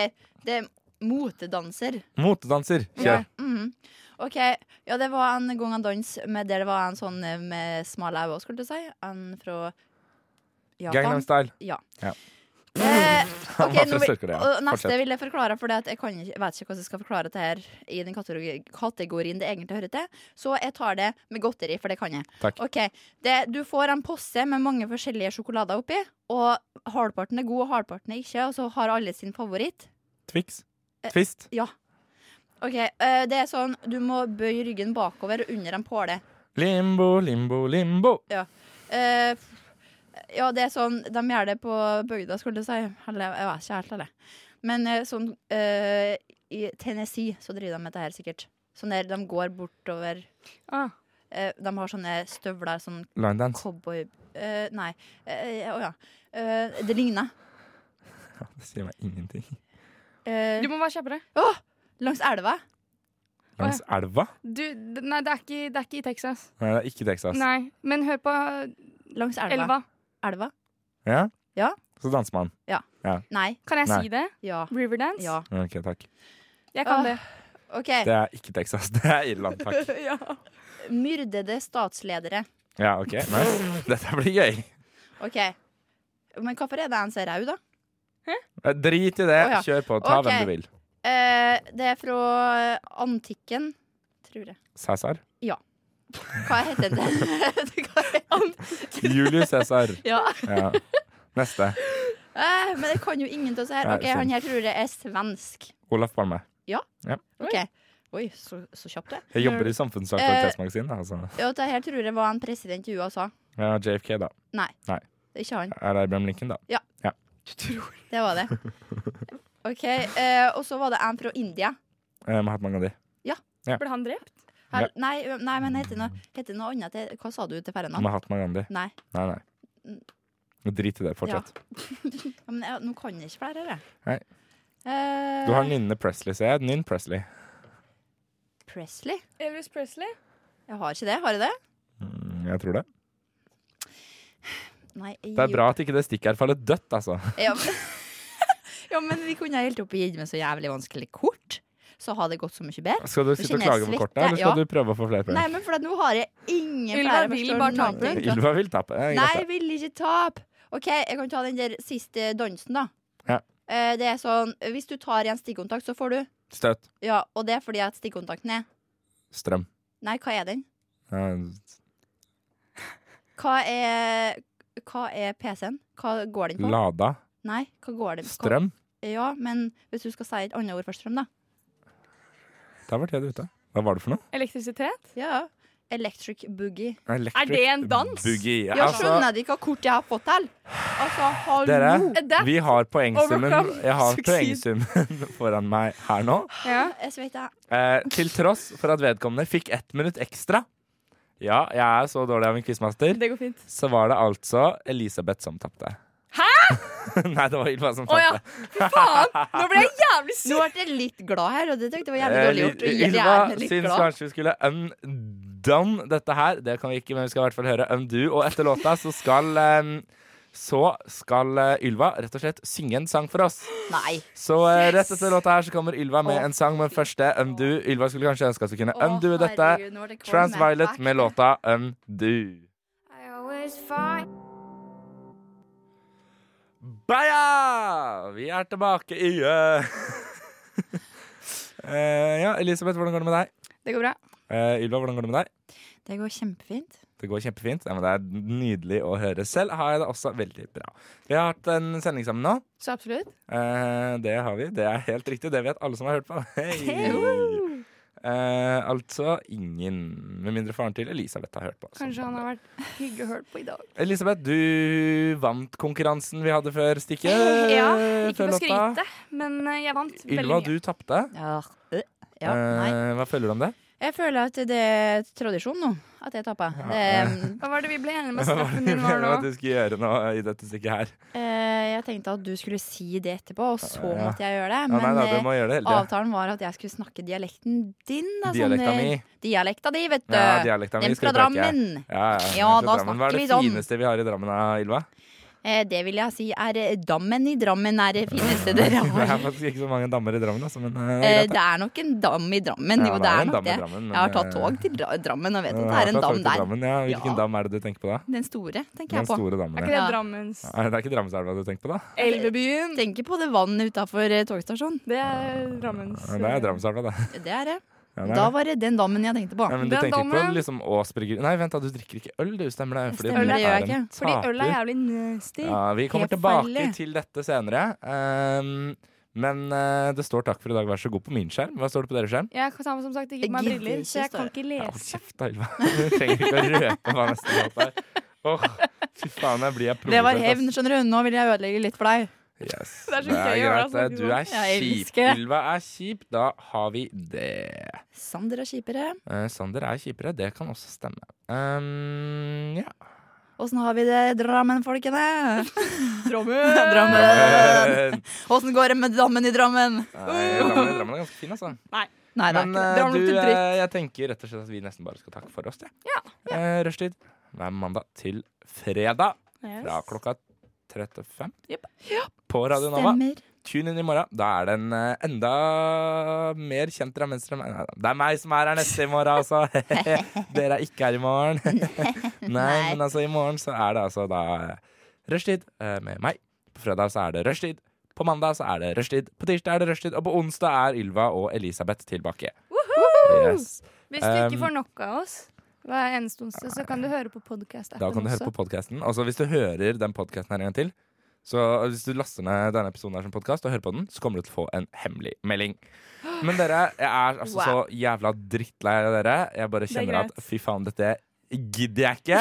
S4: Det er motedanser.
S3: Motedanser. Kjør.
S4: Mhm. OK. Ja, det var en gang en dans med, der det var en sånn eh, med smal æve, skulle du si. En fra
S3: Gangnam
S4: Japan.
S3: Style.
S4: Ja.
S3: Ja.
S4: Eh,
S3: Mm. *laughs* Han
S4: ok,
S3: var
S4: nå
S3: fra
S4: vil,
S3: Sør-Korea.
S4: og neste
S3: Fortsett.
S4: vil jeg forklare, for jeg kan ikke, vet ikke hvordan jeg skal forklare det her i den kategori- kategorien det egentlig hører til. Så jeg tar det med godteri, for det kan jeg.
S3: Takk.
S4: Ok, det, Du får en posse med mange forskjellige sjokolader oppi, og halvparten er god, og halvparten er ikke, og så har alle sin favoritt.
S3: Twix.
S5: Eh.
S3: Twist.
S4: Ok, eh, Det er sånn du må bøye ryggen bakover og under en påle.
S3: Limbo, limbo, limbo.
S4: Eh, ja, det er sånn De gjør det på bygda, skulle du si. Eller jeg vet ikke helt, eller. Men eh, sånn eh, I Tennessee så driver de med dette her, sikkert. Sånn der de går bortover
S5: Ah.
S4: eh, De har sånne støvler, sånn
S3: Line dance.
S4: cowboy eh, Nei. eh, Å ja. Eh, det ligner.
S3: Det sier meg ingenting.
S4: Eh,
S5: Du må være kjappere.
S4: langs elva.
S3: Langs elva?
S5: Du, d- nei, det er ikke, det er ikke i Texas.
S3: Nei, det er ikke Texas.
S5: Nei, men hør på
S4: Langs elva.
S5: elva.
S4: Elva?
S3: Ja?
S4: Ja.
S3: Så danser man.
S4: Nei.
S5: Kan jeg
S3: Nei.
S5: si det?
S4: Ja.
S5: Riverdance?
S4: Ja.
S3: Ok, takk.
S5: Eh. Jeg kan
S4: Åh.
S5: det.
S4: OK.
S3: Det er ikke Texas, *laughs* det er Irland, takk.
S5: Ah,
S4: Myrdede statsledere.
S3: Ja, ok, nice. Dette blir gøy.
S4: OK. Men hvorfor er det en så rød, da?
S3: Eh, Drit i
S4: Å,
S3: det,
S4: ja.
S3: kjør på, ta
S4: Ok.
S3: hvem du vil.
S4: Eh, det er fra antikken, tror jeg.
S3: Cæsar.
S4: Hva heter det? *laughs* Hva heter-
S3: Julius Cæsar.
S4: ja.
S3: Ja. Neste.
S4: Eh, men jeg kan jo ingen av disse her.
S3: Nei, sånn.
S4: Ok, Han her tror jeg er svensk.
S3: Olaf Palme.
S4: Ok. Oi, så, så kjapt det.
S3: Jeg jobber i
S4: Eh.
S3: samfunnsaktualitetsmagasin, da, altså.
S4: Ja, dette her tror jeg var en president i USA.
S3: Ja, JFK, da.
S4: Det er ikke han.
S3: Er det Abraham Lincoln, da?
S4: Det var det. OK. Eh, og så var det en fra India.
S3: Eh, Mahatma Gandhi.
S5: Ble han drept?
S4: Hel nei, ø, nei, men heter det noe, heter det noe annet til Hva sa du til Ferna?
S3: Mahatma Gandhi.
S4: Nei.
S3: Nei, nei. Drit i det. Fortsett.
S4: Ja, men jeg, nå kan jeg ikke flere, jeg.
S3: Nei.
S4: Eh,
S3: Du har Nynne Presley, ser jeg. Nynn Presley.
S4: Presley?
S5: Elvis Presley?
S4: Jeg har ikke det. Har jeg det?
S3: Mm, Jeg tror det.
S4: Nei. jeg
S3: Det er
S4: gir
S3: bra at ikke det stikket her faller dødt, altså.
S4: Ja, men, *laughs* ja, men vi kunne ha helt opp gitt med så jævlig vanskelig kort. Så har det gått så mye bedre.
S3: Skal du
S4: Nå
S3: sitte og
S4: kjenner jeg
S3: klage på
S4: svette,
S3: kortene, eller skal
S4: ja.
S3: du prøve å få flere
S4: Nei,
S3: poeng?
S4: men for at nå har jeg ingen
S5: Ylva
S4: flere
S5: vil
S4: forstår
S5: bare
S4: noen
S5: tape.
S4: ting.
S3: Ylva vil tape. Ja,
S4: Nei,
S3: greit,
S4: jeg vil ikke tape. OK, jeg kan ta den der siste dansen, da.
S3: Ja.
S4: Eh, Det er sånn Hvis du tar igjen stikkontakt, så får du.
S3: det. Støt.
S4: Ja, og det er fordi at stikkontakten er
S3: Strøm.
S4: Nei, hva er den?
S3: Ja,
S4: Hva er Hva er PC-en? Hva går den på?
S3: Lada.
S4: Nei, hva går den på?
S3: Strøm.
S4: Ja, men hvis du skal si et annet ord for strøm, da.
S3: Da var tida ute. Hva var det for noe?
S5: Elektrisitet?
S4: Ja, ja. Electric boogie.
S3: Electric
S5: det en dans?
S3: Boogie.
S4: Ja,
S3: altså,
S4: skjønner de ikke hva kort jeg har fått til? Altså, hallo!
S3: dere,
S5: Adapt,
S3: vi har poengsummen
S5: overcome,
S3: Jeg har
S5: succeed.
S3: poengsummen *laughs* foran meg her nå.
S5: Ja.
S4: Jeg svetter.
S3: Eh, til tross for at vedkommende fikk ett minutt ekstra. Ja, jeg er så dårlig av en quizmaster.
S5: Det går fint.
S3: Så var det altså Elisabeth som tapte. Hæ?! *laughs* Nei, det var Ylva som
S5: Å ja.
S3: tapte.
S5: Fy faen! *laughs* Nå ble jeg jævlig
S4: Nå
S5: sur.
S4: ble jeg litt glad her, og det tenkte jeg var jævlig
S3: Eh,
S4: dårlig gjort. å
S3: Yl-
S4: gjøre
S3: Ylva
S4: hjernen litt
S3: syns
S4: glad.
S3: kanskje vi skulle undone dette her. Det kan vi ikke, men vi skal i hvert fall høre undo. Og etter låta så skal eh, så skal eh, Ylva rett og slett synge en sang for oss.
S4: Nei.
S3: Så eh, rett etter låta her så kommer Ylva med en sang, men først det undo. Ylva skulle kanskje ønske at vi kunne undo dette. Transviolet med låta Undo. Baya! Vi er tilbake i eh, *laughs* eh, Ja, Elisabeth, hvordan går det med deg?
S5: Det går bra.
S3: Eh, Ylva, hvordan går det med deg?
S4: Det går kjempefint.
S3: Det går kjempefint. Ja, men det er nydelig å høre. Selv har jeg det også veldig bra. Vi har hatt en sending sammen nå.
S5: Så absolutt.
S3: Eh, det har vi. Det er helt riktig. Det vet alle som har hørt på. *laughs* Hei! Eh, altså ingen, med mindre faren til Elisabeth har hørt på.
S5: Kanskje han har vært hyggelig hørt på i dag.
S3: Elisabeth, du vant konkurransen vi hadde før stikket.
S5: *laughs*
S3: eh,
S5: Ja, ikke
S3: før
S5: for å
S3: låta.
S5: skryte, men eh, jeg vant veldig
S3: Ylva, du
S5: mye.
S3: tapte.
S4: Ja. øh, ja, nei.
S3: Eh, hva føler du om
S5: *laughs*
S3: det?
S4: Jeg føler at det er tradisjon nå, at jeg taper. Det,
S5: Hva var det vi ble enige om
S3: *laughs*
S5: at
S3: Hva var det
S5: straffen
S3: vi
S5: din var
S3: mener
S5: nå?
S3: at du skulle gjøre nå i dette stykket her?
S4: eh, jeg tenkte at du skulle si det etterpå, og så
S3: Ja.
S4: måtte jeg gjøre det.
S3: Ja,
S4: Men
S3: nei, nei, du
S4: eh,
S3: må gjøre det hele tida.
S4: avtalen var at jeg skulle snakke dialekten din. Da,
S3: Dialekta
S4: sånn, eh,
S3: mi.
S4: Dialekta di, vet du.
S3: Ja, dialekta mi
S4: Den
S3: skal
S4: fra
S3: du preke.
S4: Drammen.
S3: Ja, ja,
S4: Ja,
S3: den fra
S4: da
S3: Drammen. Hva
S4: snakker
S3: er
S4: vi
S3: det
S4: sånn.
S3: fineste vi har i Drammen, da, Ylva?
S4: Eh, det vil jeg si er eh, dammen i Drammen er det fineste dere
S3: *laughs* Det er
S4: har.
S3: faktisk ikke så mange dammer i Drammen, altså, men eh, det
S4: Eh,
S3: er greit.
S4: det er nok en dam i Drammen.
S3: Ja,
S4: jo,
S3: det
S4: det
S3: er
S4: er
S3: en
S4: nok
S3: dam i
S4: det.
S3: Drammen,
S4: Jeg har
S3: men,
S4: tatt
S3: eh,
S4: tog til Dra- Drammen og vet at det
S3: Ja,
S4: er en
S3: fra
S4: dam
S3: Torp til
S4: der.
S3: Drammen, Ja, hvilken
S4: Ja.
S3: dam er det du tenker på da?
S4: Den store, tenker
S3: Den
S4: jeg på.
S3: store dammen,
S5: Er
S3: ja.
S5: ikke det
S4: Ja.
S5: Drammens
S3: Nei, Det er ikke Drammenselva du tenker på, da?
S5: *laughs* Elvebyen?
S4: Tenker på det vannet utafor
S3: *laughs*
S4: togstasjonen.
S5: Det er Drammens
S3: Ja, Det er Drammenselva, det.
S4: Det er det.
S3: Ja, det er
S4: Da
S3: det.
S4: var det den dammen jeg tenkte på.
S3: ja, men du
S5: Den
S3: tenker ikke på
S5: dammen-
S3: liksom Ås bryggeri Nei, vent, da, du drikker ikke øl, du. Stemmer det?
S4: Stemmer,
S3: du
S4: det gjør jeg
S3: er en
S5: Fordi øl er
S3: taper.
S5: jævlig nasty.
S3: Ja, vi kommer
S4: Helt
S3: tilbake
S4: farlig.
S3: til dette senere. Ehm, men eh, det står 'takk for i dag, vær så god' på min skjerm. Hva står det på deres skjerm?
S5: Jeg kan som sagt ikke på meg
S4: Jeg gidder
S5: briller,
S4: ikke
S5: så jeg
S4: stå
S5: kan ikke
S3: Ja, Hold
S5: lese.
S3: kjeft, da, Ylva. *laughs* Du trenger ikke å røpe hva neste låt er. Åh, fy faen, jeg blir jeg
S4: Det var
S3: provosert,
S4: hevn,
S3: ass.
S4: skjønner du. Nå vil jeg ødelegge litt for deg. *laughs*
S3: Yes.
S5: Det er så gøy å høre deg
S3: greit,
S5: snakke
S3: Du er
S4: sånn. Jeg
S3: kjip.
S4: elsker det.
S3: Ylva er kjip. Da har vi det.
S4: Sander er kjipere.
S3: Eh, Sander er kjipere. Det kan også stemme. Ehm, ja.
S4: Åssen har vi det i Drammen, folkene?
S3: *laughs*
S4: *laughs*
S5: Drommen!
S4: Drammen! Åssen går det med dammen i Drammen?
S3: Eh,
S4: *laughs*
S3: Nei, Drammen Drammen er ganske fin, altså.
S4: Nei, det
S3: Men
S4: er ikke det.
S3: eh,
S5: Drammen
S3: du,
S5: lukter dritt.
S3: eh, jeg tenker rett og slett at vi nesten bare skal takke for oss. Ja. Eh, Rushtid hver mandag til fredag fra klokka 35
S5: Jepp.
S3: på Radio Nova.
S4: Stemmer.
S3: Tune inn i morgen. Da er det en eh, enda mer kjent drammenstrøm Nei, nei, Det er meg som er her neste i morgen, altså! *laughs* Dere er ikke her i morgen. *laughs* Nei, men altså, i morgen så er det altså da rushtid eh, med meg. På fredag så er det rushtid. På mandag så er det rushtid. På tirsdag er det rushtid. Og på onsdag er Ylva og Elisabeth tilbake. Yes.
S5: Hvis du ikke
S3: Um,
S5: får nok av oss hver eneste onsdag, så kan du høre på podkast-appen
S3: Da kan du høre på podkasten. Altså, hvis du hører den podkasten her en gang til, så hvis du laster ned denne episoden her som podkast og hører på den, så kommer du til å få en hemmelig melding. Men dere, jeg er altså så jævla drittlei av dere. Jeg bare
S5: er
S3: kjenner at
S5: greit.
S3: fy faen, dette gidder jeg ikke.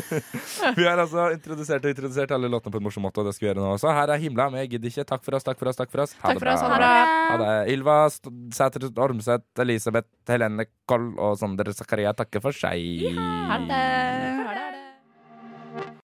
S3: *laughs* vi har altså introdusert og introdusert alle låtene på en morsom måte, og det skal vi gjøre nå også. Her er himla med 'Gidder ikke'. Takk for oss, takk for oss, takk for oss. Ha
S5: Takk for oss. Ha
S3: bra.
S5: det.
S3: Ha det. Ylva St- Sæter Ormseth, Elisabeth Helene Koll og Sondre Zakaria takker for seg.
S4: Ha det.